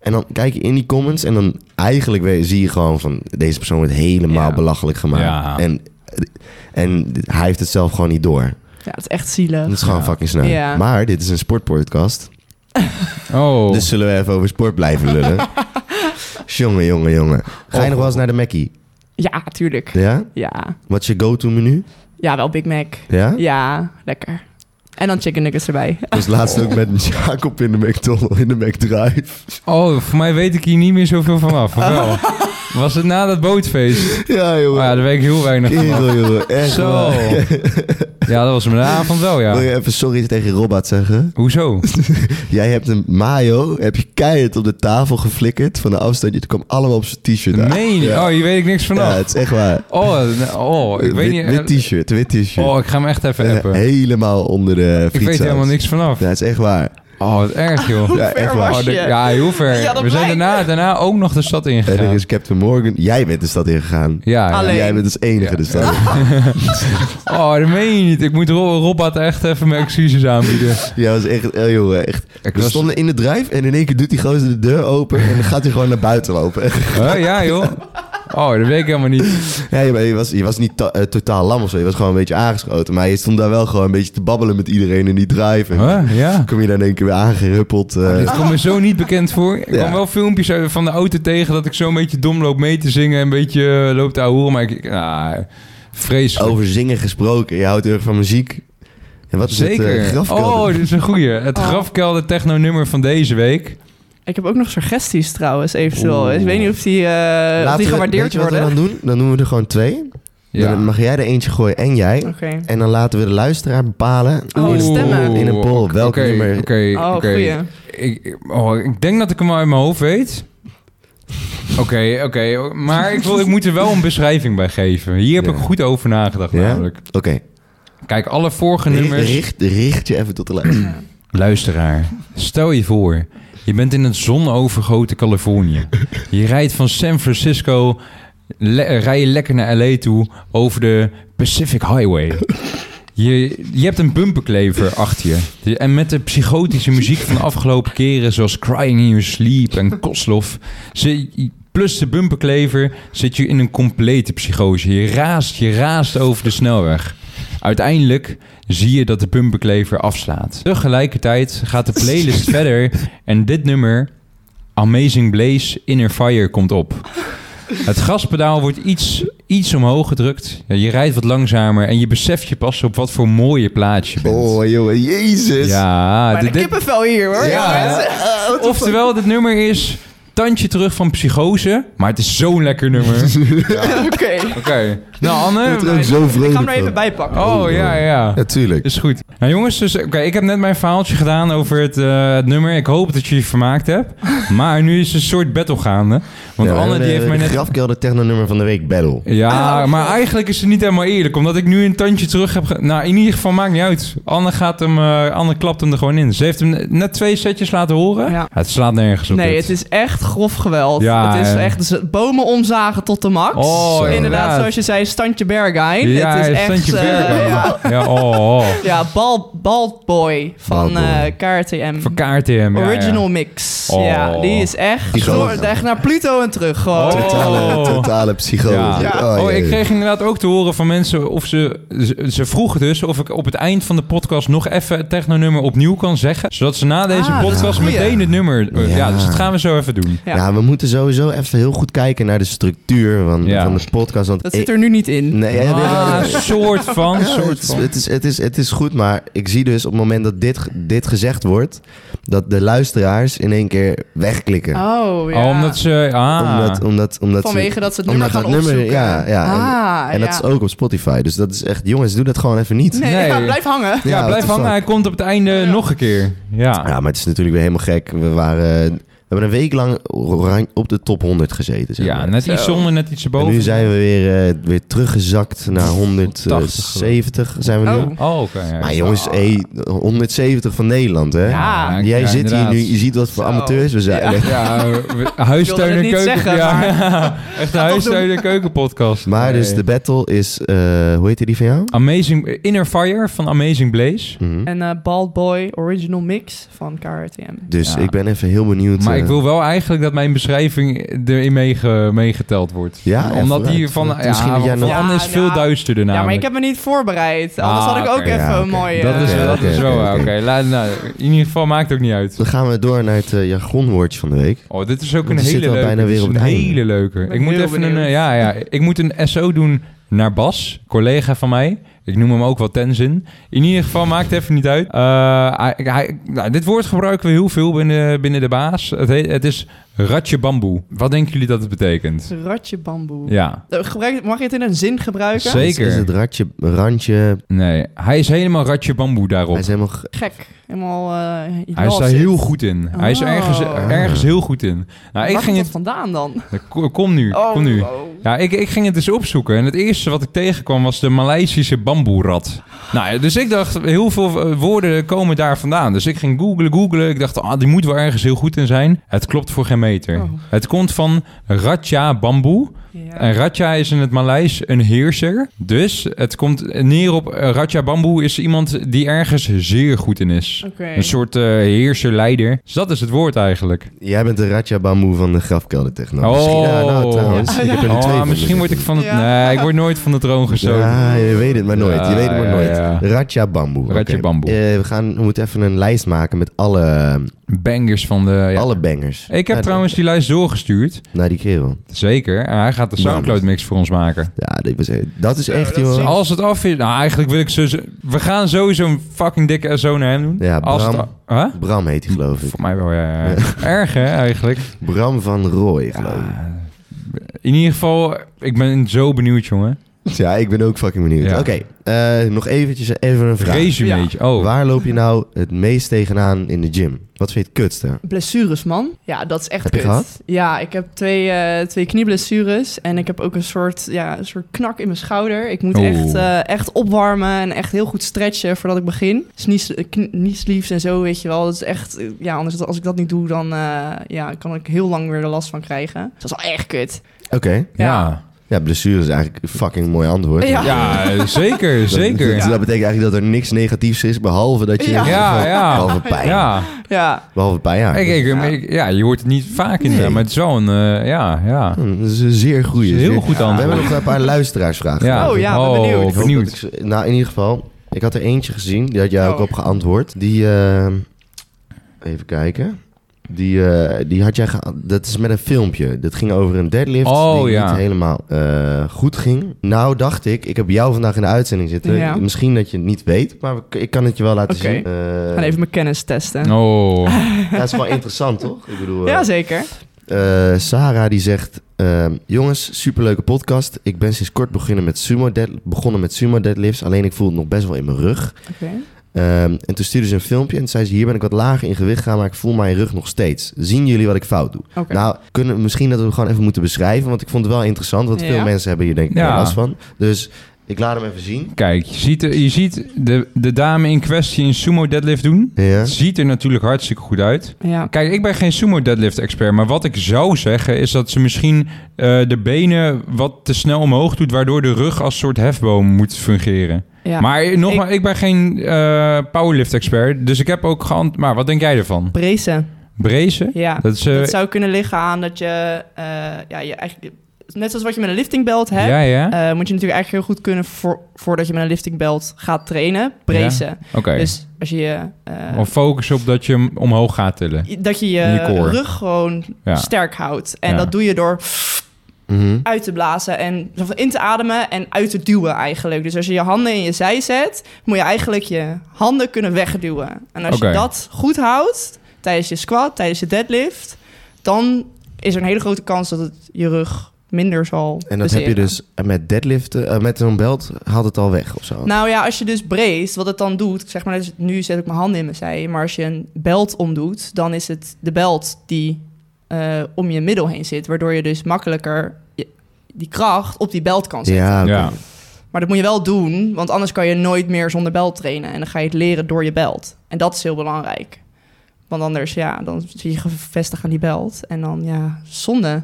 [SPEAKER 3] En dan kijk je in die comments en dan eigenlijk weer, zie je gewoon van deze persoon wordt helemaal
[SPEAKER 4] Ja.
[SPEAKER 3] belachelijk gemaakt.
[SPEAKER 1] Ja.
[SPEAKER 3] En, en hij heeft het zelf gewoon niet door.
[SPEAKER 4] Ja, het is echt zielig.
[SPEAKER 3] Dat is gewoon
[SPEAKER 1] Ja.
[SPEAKER 3] fucking snel.
[SPEAKER 4] Ja.
[SPEAKER 3] Maar dit is een sportpodcast.
[SPEAKER 1] Oh,
[SPEAKER 3] Dus zullen we even over sport
[SPEAKER 1] <laughs>
[SPEAKER 3] blijven lullen. jongen, jongen, jongen. Ga
[SPEAKER 1] Oh.
[SPEAKER 3] je nog wel eens naar de Mackie?
[SPEAKER 4] Ja, tuurlijk.
[SPEAKER 3] Ja?
[SPEAKER 4] Ja.
[SPEAKER 3] Wat is je go-to menu?
[SPEAKER 4] ja, wel Big Mac.
[SPEAKER 3] Ja?
[SPEAKER 4] Ja, lekker. En dan chicken nuggets erbij.
[SPEAKER 3] Dus laatst ook met Jacob in de McDonald's, in de McDrive.
[SPEAKER 1] Oh, voor mij weet ik hier niet meer zoveel van af.
[SPEAKER 3] Oh.
[SPEAKER 1] Of wel? Was het na dat bootfeest?
[SPEAKER 3] Ja,
[SPEAKER 1] Oh <laughs> ja,
[SPEAKER 3] jongen.
[SPEAKER 1] daar weet ik heel weinig van af.
[SPEAKER 3] Kerel, jongen. Echt
[SPEAKER 1] Zo.
[SPEAKER 3] waar.
[SPEAKER 1] Ja, dat was mijn avond wel,
[SPEAKER 3] Wil
[SPEAKER 1] ja.
[SPEAKER 3] je even sorry tegen Robert zeggen?
[SPEAKER 1] Hoezo?
[SPEAKER 3] Jij hebt een mayo, heb je keihard op de tafel geflikkerd van een afstandje. Het kwam allemaal op zijn t-shirt uit.
[SPEAKER 1] Meen je?
[SPEAKER 3] Ja.
[SPEAKER 1] Oh, hier weet ik niks
[SPEAKER 3] Ja,
[SPEAKER 1] vanaf.
[SPEAKER 3] het is echt waar.
[SPEAKER 1] Oh, nou, oh ik weet
[SPEAKER 3] wit, wit
[SPEAKER 1] niet.
[SPEAKER 3] t-shirt, wit t-shirt.
[SPEAKER 1] Oh, ik ga hem echt even
[SPEAKER 3] Eh,
[SPEAKER 1] appen.
[SPEAKER 3] helemaal onder de
[SPEAKER 1] Ik weet
[SPEAKER 3] frietsaus.
[SPEAKER 1] helemaal niks vanaf.
[SPEAKER 3] Ja, het is echt waar.
[SPEAKER 1] Oh, wat erg,
[SPEAKER 3] <laughs>
[SPEAKER 1] joh.
[SPEAKER 4] Hoe
[SPEAKER 3] Ja, echt
[SPEAKER 4] ver
[SPEAKER 3] waar.
[SPEAKER 4] was
[SPEAKER 1] Oh,
[SPEAKER 4] je?
[SPEAKER 1] de- ja, heel ver.
[SPEAKER 4] Ja, dat
[SPEAKER 1] We zijn
[SPEAKER 4] blijkt.
[SPEAKER 1] daarna, daarna ook nog de stad
[SPEAKER 3] En er
[SPEAKER 1] ingegaan.
[SPEAKER 3] is Captain Morgan. Jij bent de stad ingegaan.
[SPEAKER 1] Ja, ja.
[SPEAKER 4] Alleen.
[SPEAKER 3] Jij bent als enige de stad.
[SPEAKER 1] <laughs>
[SPEAKER 3] ingegaan.
[SPEAKER 1] Oh, dat meen je niet. Ik moet Ro- Robert echt even mijn excuses aanbieden.
[SPEAKER 3] Jij was echt, eh, jongen, echt.
[SPEAKER 1] Ik
[SPEAKER 3] We
[SPEAKER 1] was-
[SPEAKER 3] stonden in de drijf en in één keer doet die gozer de deur open en dan gaat hij gewoon naar buiten
[SPEAKER 1] <laughs>
[SPEAKER 3] lopen.
[SPEAKER 1] Huh? Ja, joh. Oh, dat weet ik helemaal niet.
[SPEAKER 3] Ja, je, je was, je was niet to- eh, totaal lam of zo. Je was gewoon een beetje aangeschoten. Maar je stond daar wel gewoon een beetje te babbelen met iedereen in die drive. En
[SPEAKER 1] Huh? Ja.
[SPEAKER 3] kom je dan in één keer weer aangehuppeld. eh.
[SPEAKER 1] Dit komt me zo niet bekend voor. Ik
[SPEAKER 3] Ja.
[SPEAKER 1] kwam wel filmpjes uit- van de auto tegen dat ik zo een beetje dom loop mee te zingen. Een beetje eh, loop te ouwen, maar ik... ik- ah, vreselijk.
[SPEAKER 3] over zingen gesproken. Je houdt heel erg van muziek. En wat is het eh,
[SPEAKER 1] Zeker.
[SPEAKER 3] grafkelder?
[SPEAKER 1] oh, dit is een goeie. Het
[SPEAKER 4] Oh.
[SPEAKER 1] grafkelder techno nummer van deze week.
[SPEAKER 4] Ik heb ook nog suggesties trouwens, eventueel.
[SPEAKER 3] Oeh.
[SPEAKER 4] Ik weet niet of die, eh, of
[SPEAKER 3] Laten
[SPEAKER 4] die
[SPEAKER 3] we-
[SPEAKER 4] gewaardeerd
[SPEAKER 3] weet je wat
[SPEAKER 4] worden.
[SPEAKER 3] we dan doen? Dan doen we er gewoon twee.
[SPEAKER 1] Ja.
[SPEAKER 3] Dan mag jij er eentje gooien en jij.
[SPEAKER 4] Oké.
[SPEAKER 3] En dan laten we de luisteraar bepalen.
[SPEAKER 4] Oh,
[SPEAKER 3] in, een-
[SPEAKER 4] stemmen.
[SPEAKER 3] in een poll.
[SPEAKER 1] Oké,
[SPEAKER 3] Welk
[SPEAKER 1] oké,
[SPEAKER 3] nummer...
[SPEAKER 1] Oké,
[SPEAKER 4] Oh,
[SPEAKER 1] oké.
[SPEAKER 4] goeie.
[SPEAKER 1] Ik, ik- oh, ik denk dat ik hem al uit mijn hoofd weet. Oké, oké. Maar ik, wil, ik moet er wel een beschrijving bij geven. Hier heb
[SPEAKER 3] Ja.
[SPEAKER 1] ik goed over nagedacht
[SPEAKER 3] Ja?
[SPEAKER 1] namelijk.
[SPEAKER 3] Oké.
[SPEAKER 1] Kijk, alle vorige nummers...
[SPEAKER 3] Richt, richt je even tot de luisteraar.
[SPEAKER 1] Luisteraar, stel je voor, je bent in het zonovergoten Californië. Je rijdt van San Francisco, le- rij je lekker naar LA toe over de Pacific Highway. Je, je hebt een bumperklever achter je. De- En met de psychotische muziek van de afgelopen keren, zoals Crying in Your Sleep en Kosloff, ze- plus de bumperklever, zit je in een complete psychose. Je raast, je raast over de snelweg. Uiteindelijk zie je dat de bumperklever afslaat. Tegelijkertijd gaat de playlist verder en dit nummer, Amazing Blaze Inner Fire, komt op. Het gaspedaal wordt iets, iets omhoog gedrukt. Ja, je rijdt wat langzamer en je beseft je pas op wat voor mooie plaats je bent.
[SPEAKER 3] Oh, jongen. Jezus. <laughs>
[SPEAKER 1] ja,
[SPEAKER 4] Maar de
[SPEAKER 1] dit- dit-
[SPEAKER 4] kippenvel Eh, hier hoor.
[SPEAKER 1] Ja.
[SPEAKER 4] jongens.
[SPEAKER 1] oftewel, dit nummer is tandje terug van psychose, maar het is zo'n lekker nummer. Oké,
[SPEAKER 3] <laughs>
[SPEAKER 4] <laughs> Oké.
[SPEAKER 1] nou Anne.
[SPEAKER 3] Ik word er ook zo vrolijk
[SPEAKER 4] Ik ga hem er even
[SPEAKER 3] van.
[SPEAKER 4] bij pakken.
[SPEAKER 1] Oh ja, ja.
[SPEAKER 3] Natuurlijk.
[SPEAKER 1] Is goed. Nou jongens, dus, oké, ik heb net mijn verhaaltje gedaan over het, eh, het nummer. Ik hoop dat je je vermaakt hebt. Maar nu is een soort battle gaande. Want Anne die heeft mij net...
[SPEAKER 3] Grafkelder technonummer van de week battle.
[SPEAKER 4] Oh,
[SPEAKER 1] Ja, maar eigenlijk is het niet helemaal eerlijk. Omdat ik nu een tandje terug heb... ge- Nou, in ieder geval maakt niet uit. Anne, gaat hem, eh, Anne klapt hem er gewoon in. Ze heeft hem net twee setjes laten horen.
[SPEAKER 4] Ja.
[SPEAKER 1] Het slaat nergens op
[SPEAKER 4] Nee,
[SPEAKER 1] dit.
[SPEAKER 4] het is echt grof geweld.
[SPEAKER 1] Ja,
[SPEAKER 4] het is
[SPEAKER 1] ja.
[SPEAKER 4] echt z- bomen omzagen tot de max.
[SPEAKER 1] Oh,
[SPEAKER 4] inderdaad,
[SPEAKER 1] inderdaad.
[SPEAKER 4] zoals je zei, standje Berghain.
[SPEAKER 1] Ja,
[SPEAKER 4] het is
[SPEAKER 1] het
[SPEAKER 4] echt
[SPEAKER 1] tandje
[SPEAKER 4] eh,
[SPEAKER 1] verkopen.
[SPEAKER 4] ja, <laughs>
[SPEAKER 1] Ja, oh, oh.
[SPEAKER 4] ja bald, bald Boy
[SPEAKER 3] Bald
[SPEAKER 4] van
[SPEAKER 3] Boy.
[SPEAKER 4] eh, KRTM.
[SPEAKER 1] Voor KRTM. ja, ja.
[SPEAKER 4] Original Mix.
[SPEAKER 1] Oh.
[SPEAKER 4] Ja, die is echt,
[SPEAKER 3] Die
[SPEAKER 4] door,
[SPEAKER 3] gozer.
[SPEAKER 4] echt naar Pluto en terug gewoon.
[SPEAKER 1] Oh.
[SPEAKER 3] Totale,
[SPEAKER 1] Oh.
[SPEAKER 3] totale psychose.
[SPEAKER 1] Ja.
[SPEAKER 3] Oh,
[SPEAKER 1] Oh, ik
[SPEAKER 3] jee.
[SPEAKER 1] kreeg inderdaad ook te horen van mensen of ze, ze. Ze vroegen dus of ik op het eind van de podcast nog even het technonummer opnieuw kan zeggen. Zodat ze na deze
[SPEAKER 4] Ah,
[SPEAKER 1] podcast
[SPEAKER 4] goeie.
[SPEAKER 1] meteen het nummer. eh, ja.
[SPEAKER 3] Ja.
[SPEAKER 1] dus dat gaan we zo even doen.
[SPEAKER 4] Ja.
[SPEAKER 3] Ja. Nou, we moeten sowieso even heel goed kijken naar de structuur van,
[SPEAKER 1] Ja.
[SPEAKER 3] van de podcast. Want
[SPEAKER 4] Dat zit er nu niet in.
[SPEAKER 3] Nee, ja, ja,
[SPEAKER 1] Ah,
[SPEAKER 3] ja, ja.
[SPEAKER 1] soort van.
[SPEAKER 3] Ja,
[SPEAKER 1] soort
[SPEAKER 3] het, is,
[SPEAKER 1] van.
[SPEAKER 3] het, is, het, is, het is goed, maar ik zie dus op het moment dat dit, ge- dit gezegd wordt, dat de luisteraars in één keer wegklikken.
[SPEAKER 4] Oh, ja.
[SPEAKER 1] Oh, omdat ze. Ah,
[SPEAKER 3] Omdat, omdat, omdat ze-
[SPEAKER 4] Vanwege dat ze het nummer
[SPEAKER 3] omdat
[SPEAKER 4] gaan
[SPEAKER 3] dat nummer,
[SPEAKER 4] opzoeken.
[SPEAKER 3] ja, ja. En-
[SPEAKER 4] Ah,
[SPEAKER 3] en dat
[SPEAKER 4] ja.
[SPEAKER 3] is ook op Spotify. Dus dat is echt, jongens, doe dat gewoon even niet.
[SPEAKER 4] Nee,
[SPEAKER 1] Nee.
[SPEAKER 4] ja, blijf hangen.
[SPEAKER 1] ja,
[SPEAKER 3] what
[SPEAKER 1] blijf
[SPEAKER 3] the
[SPEAKER 1] hangen.
[SPEAKER 3] fuck.
[SPEAKER 1] Hij komt op het einde nog een keer. Ja.
[SPEAKER 3] Ja, maar het is natuurlijk weer helemaal gek. We, waren, we hebben een week lang oran- op de top 100 gezeten. Zeg
[SPEAKER 1] Ja,
[SPEAKER 3] maar.
[SPEAKER 1] net iets
[SPEAKER 4] Zo.
[SPEAKER 1] zonder, net iets
[SPEAKER 3] en
[SPEAKER 1] erboven.
[SPEAKER 3] nu zijn we weer, eh, weer teruggezakt naar 170 zijn we nu.
[SPEAKER 4] Oh.
[SPEAKER 1] Oh, oké. ja.
[SPEAKER 3] Maar jongens, hé, 170 van Nederland, hè?
[SPEAKER 1] Ja,
[SPEAKER 3] Jij
[SPEAKER 1] ja,
[SPEAKER 3] zit
[SPEAKER 1] inderdaad.
[SPEAKER 3] hier nu, je ziet wat voor
[SPEAKER 4] Zo.
[SPEAKER 3] amateurs we zijn.
[SPEAKER 1] Ja, we- huistuin
[SPEAKER 4] het
[SPEAKER 1] en
[SPEAKER 4] niet
[SPEAKER 1] keuken.
[SPEAKER 4] zeggen,
[SPEAKER 1] ja.
[SPEAKER 4] maar-
[SPEAKER 1] <laughs> Echt een huistuin en keukenpodcast.
[SPEAKER 3] <laughs> Maar dus
[SPEAKER 1] Nee.
[SPEAKER 3] de battle is, eh, hoe heette die van jou?
[SPEAKER 1] Amazing Inner Fire van Amazing Blaze.
[SPEAKER 3] Mhm.
[SPEAKER 4] En eh Bald Boy Original Mix van KRTM.
[SPEAKER 3] Dus
[SPEAKER 1] Ja.
[SPEAKER 3] ik ben even heel benieuwd.
[SPEAKER 1] Maar
[SPEAKER 3] eh,
[SPEAKER 1] ik wil wel eigenlijk dat mijn beschrijving erin meege- meegeteld wordt.
[SPEAKER 3] Ja, ja,
[SPEAKER 1] Omdat die
[SPEAKER 3] vooruit.
[SPEAKER 1] van, ja,
[SPEAKER 3] Misschien dat jij
[SPEAKER 1] van
[SPEAKER 3] nog-
[SPEAKER 1] Anne is
[SPEAKER 4] Ja,
[SPEAKER 1] veel
[SPEAKER 4] nou,
[SPEAKER 1] duisterder
[SPEAKER 4] Ja, maar
[SPEAKER 1] namelijk.
[SPEAKER 4] ik heb me niet voorbereid. Anders
[SPEAKER 1] Ah,
[SPEAKER 4] had ik ook
[SPEAKER 1] oké,
[SPEAKER 4] even
[SPEAKER 3] ja,
[SPEAKER 4] een
[SPEAKER 3] oké.
[SPEAKER 4] mooie...
[SPEAKER 1] Dat is,
[SPEAKER 3] Ja,
[SPEAKER 1] dat
[SPEAKER 3] oké,
[SPEAKER 1] is wel
[SPEAKER 3] oké,
[SPEAKER 1] waar.
[SPEAKER 3] oké.
[SPEAKER 1] Oké, laat- nou, in ieder geval maakt het ook niet uit.
[SPEAKER 3] Dan gaan we door naar het eh, jargonwoordje van de week.
[SPEAKER 1] Oh, dit is ook een
[SPEAKER 3] Want we
[SPEAKER 1] hele
[SPEAKER 3] zitten al
[SPEAKER 1] leuke.
[SPEAKER 3] bijna
[SPEAKER 1] dit
[SPEAKER 3] weer
[SPEAKER 1] is
[SPEAKER 3] op
[SPEAKER 1] een
[SPEAKER 3] het einde.
[SPEAKER 1] hele leuke.
[SPEAKER 4] ben
[SPEAKER 1] Ik moet
[SPEAKER 4] heel
[SPEAKER 1] even een,
[SPEAKER 4] benieuwd.
[SPEAKER 1] eh, ja, ja, ik moet een SO doen naar Bas, collega van mij. Ik noem hem ook wel Tenzin. In ieder geval, maakt even niet uit. Eh, hij, hij- nou, dit woord gebruiken we heel veel binnen, binnen de baas. Het, heet- het is ratje bamboe. Wat denken jullie dat het betekent?
[SPEAKER 4] Een ratje bamboe.
[SPEAKER 1] Ja,
[SPEAKER 4] Eh, Gebruik, mag je het in een zin gebruiken?
[SPEAKER 1] Zeker.
[SPEAKER 3] Is, is het ratje, randje...
[SPEAKER 1] nee. Hij is helemaal ratje bamboe daarop.
[SPEAKER 3] Hij is helemaal... ge-
[SPEAKER 4] Gek. Helemaal... eh
[SPEAKER 1] Hij is daar heel goed in. Hij is
[SPEAKER 4] Oh.
[SPEAKER 1] ergens, ergens heel goed in. Nou, ik ging
[SPEAKER 4] het
[SPEAKER 1] het...
[SPEAKER 4] vandaan dan?
[SPEAKER 1] Kom- Kom nu,
[SPEAKER 4] Oh,
[SPEAKER 1] kom nu.
[SPEAKER 4] oh.
[SPEAKER 1] Ja, ik, ik ging het dus opzoeken. En het eerste wat ik tegenkwam was de Maleisische bamboerat. Nou, ja, dus ik dacht, heel veel eh, woorden komen daar vandaan. Dus ik ging googlen, googlen. Ik dacht, ah, die moet wel ergens heel goed in zijn. Het klopt voor geen meter.
[SPEAKER 4] Oh.
[SPEAKER 1] Het komt van Ratja bamboe.
[SPEAKER 4] Ja.
[SPEAKER 1] En Ratja is in het Maleis een heerser. Dus het komt neer op eh, Ratja bamboe is iemand die ergens zeer goed in is.
[SPEAKER 4] Oké.
[SPEAKER 1] Een soort eh, heerser-leider. Dus dat is het woord eigenlijk.
[SPEAKER 3] Jij bent de ratja bamboe van de grafkeldertechnologie.
[SPEAKER 1] Oh.
[SPEAKER 3] Misschien, ja, nou, trouwens.
[SPEAKER 4] Ja.
[SPEAKER 3] Ik heb er nu
[SPEAKER 1] Oh,
[SPEAKER 3] twee van
[SPEAKER 1] misschien word ik van het...
[SPEAKER 4] Ja.
[SPEAKER 1] Nee, ik word nooit van de troon gestoten.
[SPEAKER 3] Ja, je weet het maar nooit.
[SPEAKER 1] Ja,
[SPEAKER 3] je weet het maar
[SPEAKER 1] ja,
[SPEAKER 3] nooit.
[SPEAKER 1] ja.
[SPEAKER 3] Ratja bamboe.
[SPEAKER 1] Ratja
[SPEAKER 3] Oké.
[SPEAKER 1] bamboe.
[SPEAKER 3] Eh, we, gaan, we moeten even een lijst maken met alle,
[SPEAKER 1] Bangers van de... ja.
[SPEAKER 3] alle bangers.
[SPEAKER 1] Ik heb
[SPEAKER 3] Naar-
[SPEAKER 1] trouwens die lijst doorgestuurd.
[SPEAKER 3] Naar die kerel.
[SPEAKER 1] Zeker. En hij gaat
[SPEAKER 3] Nou,
[SPEAKER 1] de Soundcloud mix voor ons maken.
[SPEAKER 3] Ja, dit was, dat is
[SPEAKER 4] Zo,
[SPEAKER 3] echt,
[SPEAKER 4] dat is
[SPEAKER 3] joh.
[SPEAKER 4] echt-
[SPEAKER 1] Als het af is... Nou, eigenlijk wil ik zo... zo- We gaan sowieso een fucking dikke SO naar hem doen.
[SPEAKER 3] Ja,
[SPEAKER 1] Als het
[SPEAKER 3] Bram.
[SPEAKER 1] a- Huh?
[SPEAKER 3] Bram heet hij, geloof ik.
[SPEAKER 1] Voor mij wel, ja. Erg, hè,
[SPEAKER 3] <laughs>
[SPEAKER 1] eigenlijk.
[SPEAKER 3] Bram van Rooij, geloof ik.
[SPEAKER 1] Ja. In ieder geval, ik ben zo benieuwd, jongen.
[SPEAKER 3] Ja, ik ben ook fucking benieuwd.
[SPEAKER 1] Ja.
[SPEAKER 3] Oké, eh, nog eventjes even een vraag.
[SPEAKER 1] Resumeetje. Oh,
[SPEAKER 3] Waar loop je nou het meest tegenaan in de gym? Wat vind je het kutste?
[SPEAKER 4] Blessures, man. Ja, dat is echt
[SPEAKER 3] Heb je
[SPEAKER 4] kut.
[SPEAKER 3] gehad?
[SPEAKER 4] Ja, ik heb twee, eh, twee knieblessures. En ik heb ook een soort, ja, een soort knak in mijn schouder. Ik moet
[SPEAKER 1] Oeh.
[SPEAKER 4] echt, eh, echt opwarmen en echt heel goed stretchen voordat ik begin. Dus niet, eh, kn- niet sleeves en zo, weet je wel. Dat is echt, eh, ja, anders als ik dat niet doe, dan eh, ja, kan ik heel lang weer er last van krijgen. Dus dat is wel echt kut.
[SPEAKER 3] Oké.
[SPEAKER 1] ja.
[SPEAKER 3] Ja, blessure is eigenlijk een fucking mooi antwoord.
[SPEAKER 4] Ja.
[SPEAKER 1] Ja, zeker,
[SPEAKER 3] <laughs> Dat-
[SPEAKER 1] zeker.
[SPEAKER 3] Dat, dat betekent eigenlijk dat er niks negatiefs is, behalve dat je...
[SPEAKER 4] Ja.
[SPEAKER 1] Ja, ja.
[SPEAKER 3] Behalve pijn.
[SPEAKER 1] Ja,
[SPEAKER 4] Ja,
[SPEAKER 3] Behalve pijn, ja.
[SPEAKER 1] ik, ik, ik- ja, je hoort het niet vaak in,
[SPEAKER 3] Nee.
[SPEAKER 1] maar het is wel een... eh, ja, ja.
[SPEAKER 3] Hm, Dat is een zeer goede.
[SPEAKER 1] Heel
[SPEAKER 3] zeer-
[SPEAKER 1] goed
[SPEAKER 3] We
[SPEAKER 1] antwoord.
[SPEAKER 3] hebben nog een paar luisteraarsvragen.
[SPEAKER 1] Ja.
[SPEAKER 4] Oh, ja, ben benieuwd.
[SPEAKER 3] Ik hoop dat ik ze- nou, in ieder geval, ik had er eentje gezien. Die had jij ook
[SPEAKER 4] Oh.
[SPEAKER 3] op geantwoord. Die, eh, even kijken. Die, eh, die had jij ge- Dat is met een filmpje. Dat ging over een deadlift
[SPEAKER 1] Oh,
[SPEAKER 3] die
[SPEAKER 1] ja.
[SPEAKER 3] niet helemaal eh, goed ging. Nou dacht ik, ik heb jou vandaag in de uitzending zitten.
[SPEAKER 4] Ja.
[SPEAKER 3] Misschien dat je het niet weet, maar we- ik kan het je wel laten
[SPEAKER 4] Oké.
[SPEAKER 3] zien. Eh,
[SPEAKER 4] gaan even mijn kennis testen. eh,
[SPEAKER 1] Oh,
[SPEAKER 3] Dat is wel interessant, toch? Ik bedoel, eh,
[SPEAKER 4] Ja, zeker.
[SPEAKER 3] eh, Sarah die zegt... ehm, jongens, superleuke podcast. Ik ben sinds kort begonnen met, sumo dead, begonnen met sumo deadlifts. Alleen ik voel het nog best wel in mijn rug.
[SPEAKER 4] Oké.
[SPEAKER 3] Ehm, en toen stuurde ze een filmpje en toen zei ze... hier ben ik wat lager in gewicht gaan, maar ik voel mijn rug nog steeds. Zien jullie wat ik fout doe?
[SPEAKER 4] Oké.
[SPEAKER 3] Nou, kunnen, misschien dat we hem gewoon even moeten beschrijven... want ik vond het wel interessant, want
[SPEAKER 4] Ja.
[SPEAKER 3] veel mensen hebben hier denk ik
[SPEAKER 1] Ja.
[SPEAKER 3] wel last van. Dus ik laat hem even zien.
[SPEAKER 1] kijk, je ziet, je ziet de, de dame in kwestie een sumo deadlift doen.
[SPEAKER 3] Ja.
[SPEAKER 1] Ziet er natuurlijk hartstikke goed uit.
[SPEAKER 4] Ja.
[SPEAKER 1] Kijk, ik ben geen sumo deadlift expert, maar wat ik zou zeggen is dat ze misschien eh, de benen wat te snel omhoog doet, waardoor de rug als soort hefboom moet fungeren.
[SPEAKER 4] ja.
[SPEAKER 1] Maar nogmaals, ik, ben geen eh, powerlift expert, dus ik heb ook geant. Maar wat denk jij ervan?
[SPEAKER 4] Brezen.
[SPEAKER 1] Brezen?
[SPEAKER 4] Ja.
[SPEAKER 1] Dat is, eh,
[SPEAKER 4] Dat zou kunnen liggen aan dat je, eh, ja, je eigenlijk, net zoals wat je met een liftingbelt hebt,
[SPEAKER 1] ja, ja.
[SPEAKER 4] eh, moet je natuurlijk eigenlijk heel goed kunnen voor, voordat je met een liftingbelt gaat trainen, brezen.
[SPEAKER 1] Oké.
[SPEAKER 4] Dus als je je, eh,
[SPEAKER 1] Of focus op dat je hem omhoog gaat tillen.
[SPEAKER 4] dat je
[SPEAKER 1] in
[SPEAKER 4] je,
[SPEAKER 1] je core.
[SPEAKER 4] rug gewoon
[SPEAKER 1] Ja.
[SPEAKER 4] sterk houdt. En
[SPEAKER 1] Ja.
[SPEAKER 4] dat doe je door
[SPEAKER 3] Mhm.
[SPEAKER 4] uit te blazen en of in te ademen en uit te duwen eigenlijk. Dus als je je handen in je zij zet, moet je eigenlijk je handen kunnen wegduwen. En als
[SPEAKER 1] Oké.
[SPEAKER 4] je dat goed houdt tijdens je squat, tijdens je deadlift, dan is er een hele grote kans dat het je rug minder zal
[SPEAKER 3] En dat heb je
[SPEAKER 4] bezeren.
[SPEAKER 3] dus met deadliften, eh, met zo'n belt, haalt het al weg of zo.
[SPEAKER 4] Nou ja, als je dus brace, wat het dan doet, zeg maar, dus nu zet ik mijn handen in mijn zij, maar als je een belt omdoet, dan is het de belt die eh, om je middel heen zit, waardoor je dus makkelijker je- die kracht op die belt kan zetten.
[SPEAKER 3] ja, oké.
[SPEAKER 1] Ja.
[SPEAKER 4] Maar dat moet je wel doen, want anders kan je nooit meer zonder belt trainen. En dan ga je het leren door je belt. En dat is heel belangrijk. Want anders, ja, dan zit je gevestigd aan die belt. En dan, ja, zonde.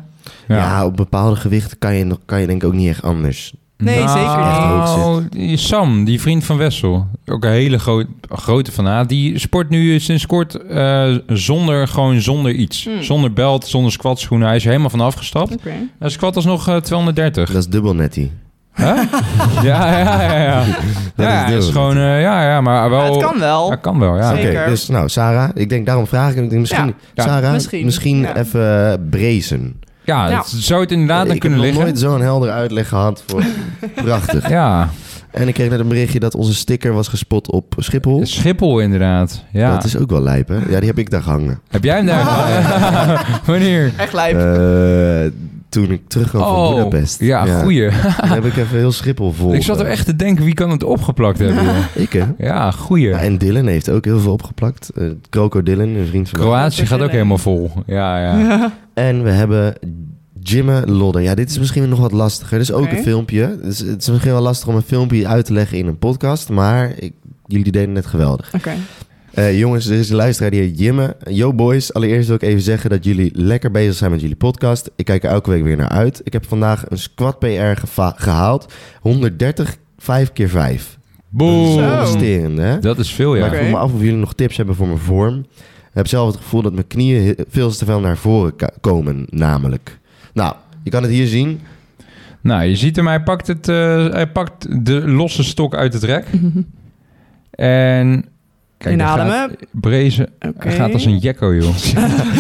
[SPEAKER 3] Ja. op bepaalde gewichten kan je, nog- kan je denk ik ook niet echt anders.
[SPEAKER 4] Nee,
[SPEAKER 1] Nou,
[SPEAKER 3] zeker
[SPEAKER 1] die Sam, die vriend van Wessel, ook een hele groot, grote fanaat, die sport nu sinds kort eh, zonder, gewoon zonder iets.
[SPEAKER 4] Hmm.
[SPEAKER 1] Zonder belt, zonder squatschoenen. Hij is er helemaal van afgestapt.
[SPEAKER 4] Oké.
[SPEAKER 1] Hij squat alsnog eh, nog 230.
[SPEAKER 3] Dat is dubbel netty.
[SPEAKER 1] Huh? ja, ja, ja. <laughs> ja.
[SPEAKER 3] Dat
[SPEAKER 1] ja,
[SPEAKER 3] is
[SPEAKER 1] het
[SPEAKER 3] dubbel.
[SPEAKER 1] is gewoon, eh, ja, ja, maar wel...
[SPEAKER 4] het kan wel.
[SPEAKER 1] Dat kan wel, ja.
[SPEAKER 3] Oké,
[SPEAKER 4] Zeker.
[SPEAKER 3] dus nou, Sarah, ik denk daarom vraag ik hem. Ik denk Misschien,
[SPEAKER 4] Ja.
[SPEAKER 1] Ja.
[SPEAKER 3] Sarah, misschien,
[SPEAKER 4] Misschien, ja.
[SPEAKER 3] even eh, brezen.
[SPEAKER 1] Ja,
[SPEAKER 4] Ja.
[SPEAKER 1] het zou het inderdaad
[SPEAKER 3] ik
[SPEAKER 1] aan kunnen
[SPEAKER 3] heb nog
[SPEAKER 1] liggen.
[SPEAKER 3] nooit zo'n helder uitleg gehad voor prachtig.
[SPEAKER 1] Ja,
[SPEAKER 3] En ik kreeg net een berichtje dat onze sticker was gespot op Schiphol.
[SPEAKER 1] Schiphol inderdaad. Ja.
[SPEAKER 3] Dat is ook wel lijp, hè? Ja, die heb ik daar gehangen.
[SPEAKER 1] Heb jij hem daar? <laughs> Wanneer? Oh,
[SPEAKER 4] Echt lijp.
[SPEAKER 3] Eh, toen ik terugkwam van Budapest.
[SPEAKER 1] ja, goeie.
[SPEAKER 3] Toen heb ik even heel Schiphol vol.
[SPEAKER 1] Ik zat er echt te denken, wie kan het opgeplakt
[SPEAKER 3] <laughs>
[SPEAKER 1] hebben? joh?
[SPEAKER 3] Ik, hè?
[SPEAKER 1] Ja, goeie.
[SPEAKER 3] Ja, en Dylan heeft ook heel veel opgeplakt. Eh Kroko Dylan, een vriend van mij.
[SPEAKER 1] Kroatië gaat ook helemaal vol. Ja, ja.
[SPEAKER 3] En we hebben Jimme Lodder. Ja, dit is misschien nog wat lastiger. Dit is ook
[SPEAKER 4] Oké.
[SPEAKER 3] een filmpje. Dus het is misschien wel lastig om een filmpje uit te leggen in een podcast. Maar ik, jullie deden het geweldig.
[SPEAKER 4] Oké.
[SPEAKER 1] <laughs>
[SPEAKER 3] Eh, jongens, er is een luisteraar die heet Jimme. Yo boys, allereerst wil ik even zeggen dat jullie lekker bezig zijn met jullie podcast. Ik kijk er elke week weer naar uit. Ik heb vandaag een squat PR geva- gehaald. 130, 5 keer 5.
[SPEAKER 4] Zo.
[SPEAKER 1] Boom.
[SPEAKER 3] Presterende, hè?
[SPEAKER 1] Dat is veel, ja.
[SPEAKER 3] Maar ik vroeg me af of jullie nog tips hebben voor mijn vorm. Ik heb zelf het gevoel dat mijn knieën he- veel te veel naar voren ka- komen, namelijk. Nou, je kan het hier zien.
[SPEAKER 1] Nou, je ziet hem, hij pakt, het, eh, hij pakt de losse stok uit het rek. En... Kijk, daar gaat-
[SPEAKER 4] Inademen.
[SPEAKER 1] Brezen.
[SPEAKER 4] Oké.
[SPEAKER 1] Hij gaat als een jekko,
[SPEAKER 4] <laughs>
[SPEAKER 1] joh.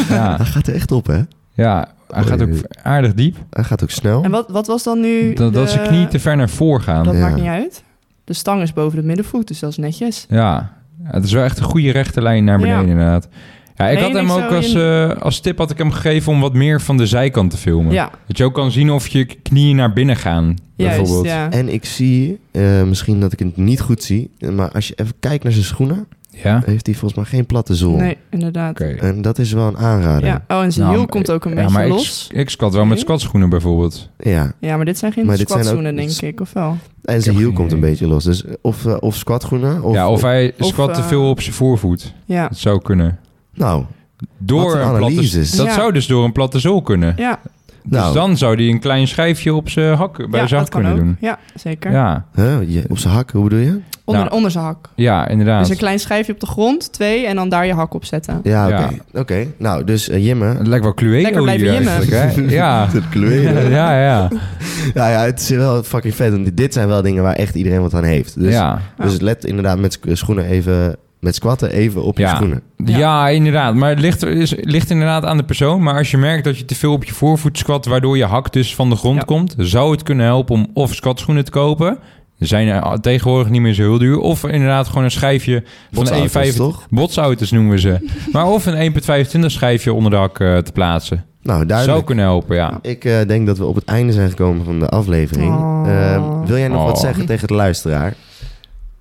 [SPEAKER 1] ja,
[SPEAKER 3] Hij gaat er echt op, hè?
[SPEAKER 1] ja, hij gaat ook aardig diep.
[SPEAKER 3] Hij gaat ook snel.
[SPEAKER 4] En wat, wat was dan nu...
[SPEAKER 1] Dat, dat
[SPEAKER 4] de-
[SPEAKER 1] zijn knieën te ver naar voren gaan.
[SPEAKER 4] eh, Dat
[SPEAKER 3] Ja.
[SPEAKER 4] maakt niet uit. De stang is boven de middenvoet, dus dat is netjes.
[SPEAKER 1] Ja, het is wel echt een goede rechte lijn naar beneden
[SPEAKER 4] Ja.
[SPEAKER 1] inderdaad. Ja, ik
[SPEAKER 4] Nee,
[SPEAKER 1] had hem
[SPEAKER 4] niks
[SPEAKER 1] ook
[SPEAKER 4] zo
[SPEAKER 1] als,
[SPEAKER 4] in-
[SPEAKER 1] eh, als tip had ik hem gegeven om wat meer van de zijkant te filmen.
[SPEAKER 4] Ja,
[SPEAKER 1] Dat je ook kan zien of je knieën naar binnen gaan,
[SPEAKER 4] juist.
[SPEAKER 1] bijvoorbeeld.
[SPEAKER 4] Ja.
[SPEAKER 3] En ik zie, eh, misschien dat ik het niet goed zie, maar als je even kijkt naar zijn schoenen,
[SPEAKER 1] Ja? Oké.
[SPEAKER 3] heeft hij volgens mij geen platte zool.
[SPEAKER 4] Nee, inderdaad.
[SPEAKER 3] En dat is wel een aanrader.
[SPEAKER 4] Ja.
[SPEAKER 3] Ja,
[SPEAKER 4] Oh, en zijn
[SPEAKER 1] Nou,
[SPEAKER 4] hiel komt ook een
[SPEAKER 1] ja,
[SPEAKER 4] beetje
[SPEAKER 1] maar ik-
[SPEAKER 4] los.
[SPEAKER 1] Ik, squat wel met
[SPEAKER 4] Oké.
[SPEAKER 1] squatschoenen bijvoorbeeld.
[SPEAKER 4] Ja, maar dit zijn
[SPEAKER 3] Maar dit
[SPEAKER 4] geen
[SPEAKER 3] zijn
[SPEAKER 4] squatzoenen,
[SPEAKER 3] ook-
[SPEAKER 4] denk ik, of wel?
[SPEAKER 3] en zijn
[SPEAKER 1] heb
[SPEAKER 3] hiel
[SPEAKER 1] geen
[SPEAKER 3] komt een
[SPEAKER 1] idee.
[SPEAKER 3] beetje los. Dus of, eh, of squatgroenen, of,
[SPEAKER 1] ja, of hij
[SPEAKER 4] of,
[SPEAKER 1] squat te
[SPEAKER 4] eh,
[SPEAKER 1] veel op zijn voorvoet.
[SPEAKER 4] Ja.
[SPEAKER 1] Dat zou kunnen.
[SPEAKER 3] Nou,
[SPEAKER 1] Door
[SPEAKER 3] Wat een
[SPEAKER 1] een platte,
[SPEAKER 3] analyses.
[SPEAKER 1] dat
[SPEAKER 4] Ja.
[SPEAKER 1] zou dus door een platte zool kunnen.
[SPEAKER 4] Ja,
[SPEAKER 1] Dus
[SPEAKER 3] nou
[SPEAKER 1] dan zou hij een klein schijfje op zijn hak, bij
[SPEAKER 4] ja
[SPEAKER 1] zijn
[SPEAKER 4] dat
[SPEAKER 1] hak
[SPEAKER 4] kan
[SPEAKER 1] kunnen
[SPEAKER 4] ook.
[SPEAKER 1] doen.
[SPEAKER 4] Ja, zeker.
[SPEAKER 1] Ja,
[SPEAKER 3] huh, je- op zijn hak, hoe bedoel je?
[SPEAKER 4] Onder,
[SPEAKER 1] Nou.
[SPEAKER 4] onder zijn hak.
[SPEAKER 1] ja, inderdaad.
[SPEAKER 4] Dus een klein schijfje op de grond, twee, en dan daar je hak op zetten.
[SPEAKER 3] Ja, oké.
[SPEAKER 1] Ja.
[SPEAKER 3] Oké, nou, dus eh, Jimme.
[SPEAKER 1] Het lijkt wel Cluedo
[SPEAKER 4] Lekker blijven
[SPEAKER 1] hier
[SPEAKER 4] jimmen.
[SPEAKER 3] <laughs>
[SPEAKER 1] eigenlijk, hè? Ja.
[SPEAKER 3] Het kleuren.
[SPEAKER 1] <laughs> Ja, ja.
[SPEAKER 3] Ja, ja, het is wel fucking vet. Want dit zijn wel dingen waar echt iedereen wat aan heeft. Dus,
[SPEAKER 1] ja.
[SPEAKER 3] dus let inderdaad met sc- schoenen even... Met squatten even op je
[SPEAKER 1] Ja.
[SPEAKER 3] schoenen.
[SPEAKER 1] Ja. inderdaad. Maar het ligt, is, ligt inderdaad aan de persoon. Maar als je merkt dat je te veel op je voorvoet squat, waardoor je hak dus van de grond
[SPEAKER 4] Ja.
[SPEAKER 1] komt, zou het kunnen helpen om of squatschoenen te kopen. Die Zijn er tegenwoordig niet meer zo heel duur. Of inderdaad gewoon een schijfje van
[SPEAKER 3] Botsauto's,
[SPEAKER 1] 1,5.
[SPEAKER 3] toch?
[SPEAKER 1] Botsauto's noemen we
[SPEAKER 4] <laughs>
[SPEAKER 1] ze. maar of een 1,25 schijfje onder de hak eh, te plaatsen.
[SPEAKER 3] Nou,
[SPEAKER 1] Zou
[SPEAKER 3] duidelijk.
[SPEAKER 1] kunnen helpen, ja.
[SPEAKER 3] Ik eh, denk dat we op het einde zijn gekomen van de aflevering.
[SPEAKER 4] Oh.
[SPEAKER 3] Ehm, wil jij nog wat
[SPEAKER 1] Oh.
[SPEAKER 3] zeggen tegen de luisteraar?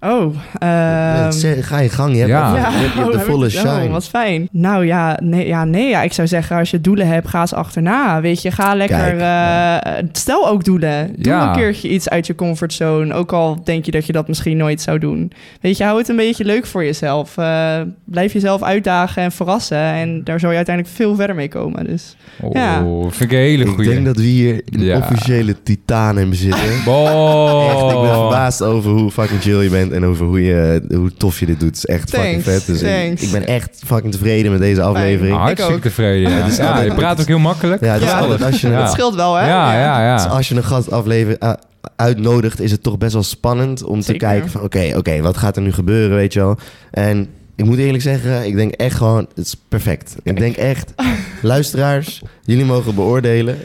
[SPEAKER 4] Oh, ehm,
[SPEAKER 3] Zeg- Ga je gang. Je hebt,
[SPEAKER 1] ja.
[SPEAKER 3] je hebt- je hebt
[SPEAKER 4] oh,
[SPEAKER 3] de
[SPEAKER 4] heb ik-
[SPEAKER 3] volle
[SPEAKER 4] oh,
[SPEAKER 3] shine.
[SPEAKER 4] wat fijn. Nou ja, nee, ja, nee ja. ik zou zeggen, als je doelen hebt, ga ze achterna. Weet je, ga lekker...
[SPEAKER 3] Kijk.
[SPEAKER 4] eh, Stel ook doelen. Doe
[SPEAKER 1] Ja.
[SPEAKER 4] een keertje iets uit je comfortzone. Ook al denk je dat je dat misschien nooit zou doen. Weet je, hou het een beetje leuk voor jezelf. Eh, blijf jezelf uitdagen en verrassen. En daar zal je uiteindelijk veel verder mee komen. Dus
[SPEAKER 1] Oh,
[SPEAKER 4] Ja.
[SPEAKER 1] Vind ik een hele
[SPEAKER 3] Ik
[SPEAKER 1] goede.
[SPEAKER 3] denk dat we hier een
[SPEAKER 1] Ja.
[SPEAKER 3] officiële titaan in
[SPEAKER 1] <laughs>
[SPEAKER 3] bezitten. <laughs> Echt,
[SPEAKER 1] Oh.
[SPEAKER 3] ik ben verbaasd over hoe fucking chill je bent en over hoe, je, hoe tof je dit doet. Het is echt fucking
[SPEAKER 4] Thanks,
[SPEAKER 3] vet. Dus ik-
[SPEAKER 4] thanks.
[SPEAKER 3] ik, ben echt fucking tevreden met deze aflevering.
[SPEAKER 4] Fijn.
[SPEAKER 1] Ah, Hartstikke
[SPEAKER 4] Ik ook.
[SPEAKER 1] tevreden. Ja.
[SPEAKER 3] Het is
[SPEAKER 1] Ja,
[SPEAKER 3] altijd-
[SPEAKER 1] je praat ook heel makkelijk.
[SPEAKER 3] Ja, het is
[SPEAKER 4] Ja.
[SPEAKER 3] altijd als je,
[SPEAKER 1] Ja.
[SPEAKER 4] dat scheelt wel, hè?
[SPEAKER 1] ja, ja, ja.
[SPEAKER 3] dus als je een gast aflever, eh, uitnodigt, is het toch best wel spannend om te
[SPEAKER 4] Zeker.
[SPEAKER 3] kijken van oké, oké, wat gaat er nu gebeuren, weet je wel. En ik moet eerlijk zeggen, ik denk echt gewoon, het is perfect. Ik denk echt, luisteraars, jullie mogen beoordelen.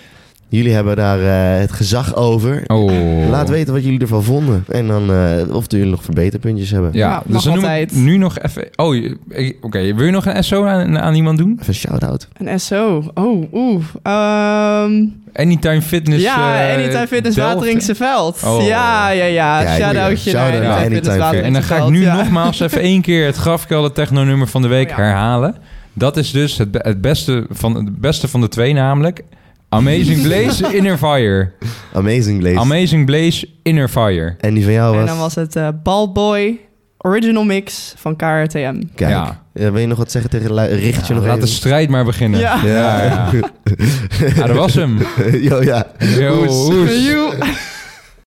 [SPEAKER 3] Jullie hebben daar eh, het gezag over.
[SPEAKER 1] Oh.
[SPEAKER 3] Laat weten wat jullie ervan vonden. En dan eh, of jullie nog verbeterpuntjes hebben.
[SPEAKER 1] Ja,
[SPEAKER 4] Ja,
[SPEAKER 1] dus
[SPEAKER 4] mag
[SPEAKER 1] dan noem ik
[SPEAKER 4] altijd.
[SPEAKER 1] nu nog even... Oh, je- ik- oké. Wil je nog een SO aan, aan iemand doen?
[SPEAKER 3] Even een shout-out.
[SPEAKER 4] Een SO. Oh, oeh. Ehm,
[SPEAKER 1] Anytime Fitness...
[SPEAKER 4] ja,
[SPEAKER 1] eh,
[SPEAKER 4] Anytime Fitness
[SPEAKER 1] Delft.
[SPEAKER 4] Wateringse Veld.
[SPEAKER 1] Oh.
[SPEAKER 4] Ja, ja, ja.
[SPEAKER 3] Ja,
[SPEAKER 4] Shout-outje
[SPEAKER 3] goeie.
[SPEAKER 4] naar
[SPEAKER 3] Shout-out
[SPEAKER 4] Anytime,
[SPEAKER 1] naar
[SPEAKER 4] Fitness
[SPEAKER 3] Anytime Fit.
[SPEAKER 1] En dan
[SPEAKER 4] Wateringse
[SPEAKER 1] ga ik
[SPEAKER 4] Veld,
[SPEAKER 1] nu
[SPEAKER 4] ja. Oh
[SPEAKER 1] nogmaals even één keer het grafkelder technonummer van de week
[SPEAKER 4] Ja.
[SPEAKER 1] herhalen. Dat is dus het, be- het, beste van, het beste van de twee namelijk. Amazing
[SPEAKER 4] <laughs>
[SPEAKER 1] Blaze Inner Fire.
[SPEAKER 3] Amazing Blaze.
[SPEAKER 1] Amazing Blaze Inner Fire.
[SPEAKER 3] en die van jou was...
[SPEAKER 4] En dan was het eh, Ballboy Original Mix van KRTM.
[SPEAKER 3] Kijk,
[SPEAKER 1] Ja.
[SPEAKER 3] eh, wil je nog wat zeggen tegen... de lu- Richt je nog
[SPEAKER 1] Laat de
[SPEAKER 3] even...
[SPEAKER 1] strijd maar beginnen.
[SPEAKER 4] Ja.
[SPEAKER 3] <laughs>
[SPEAKER 1] ja. ja. Ah, dat was hem.
[SPEAKER 3] Yo, ja.
[SPEAKER 1] Yo,
[SPEAKER 3] Oes.
[SPEAKER 1] oes.
[SPEAKER 4] Joe.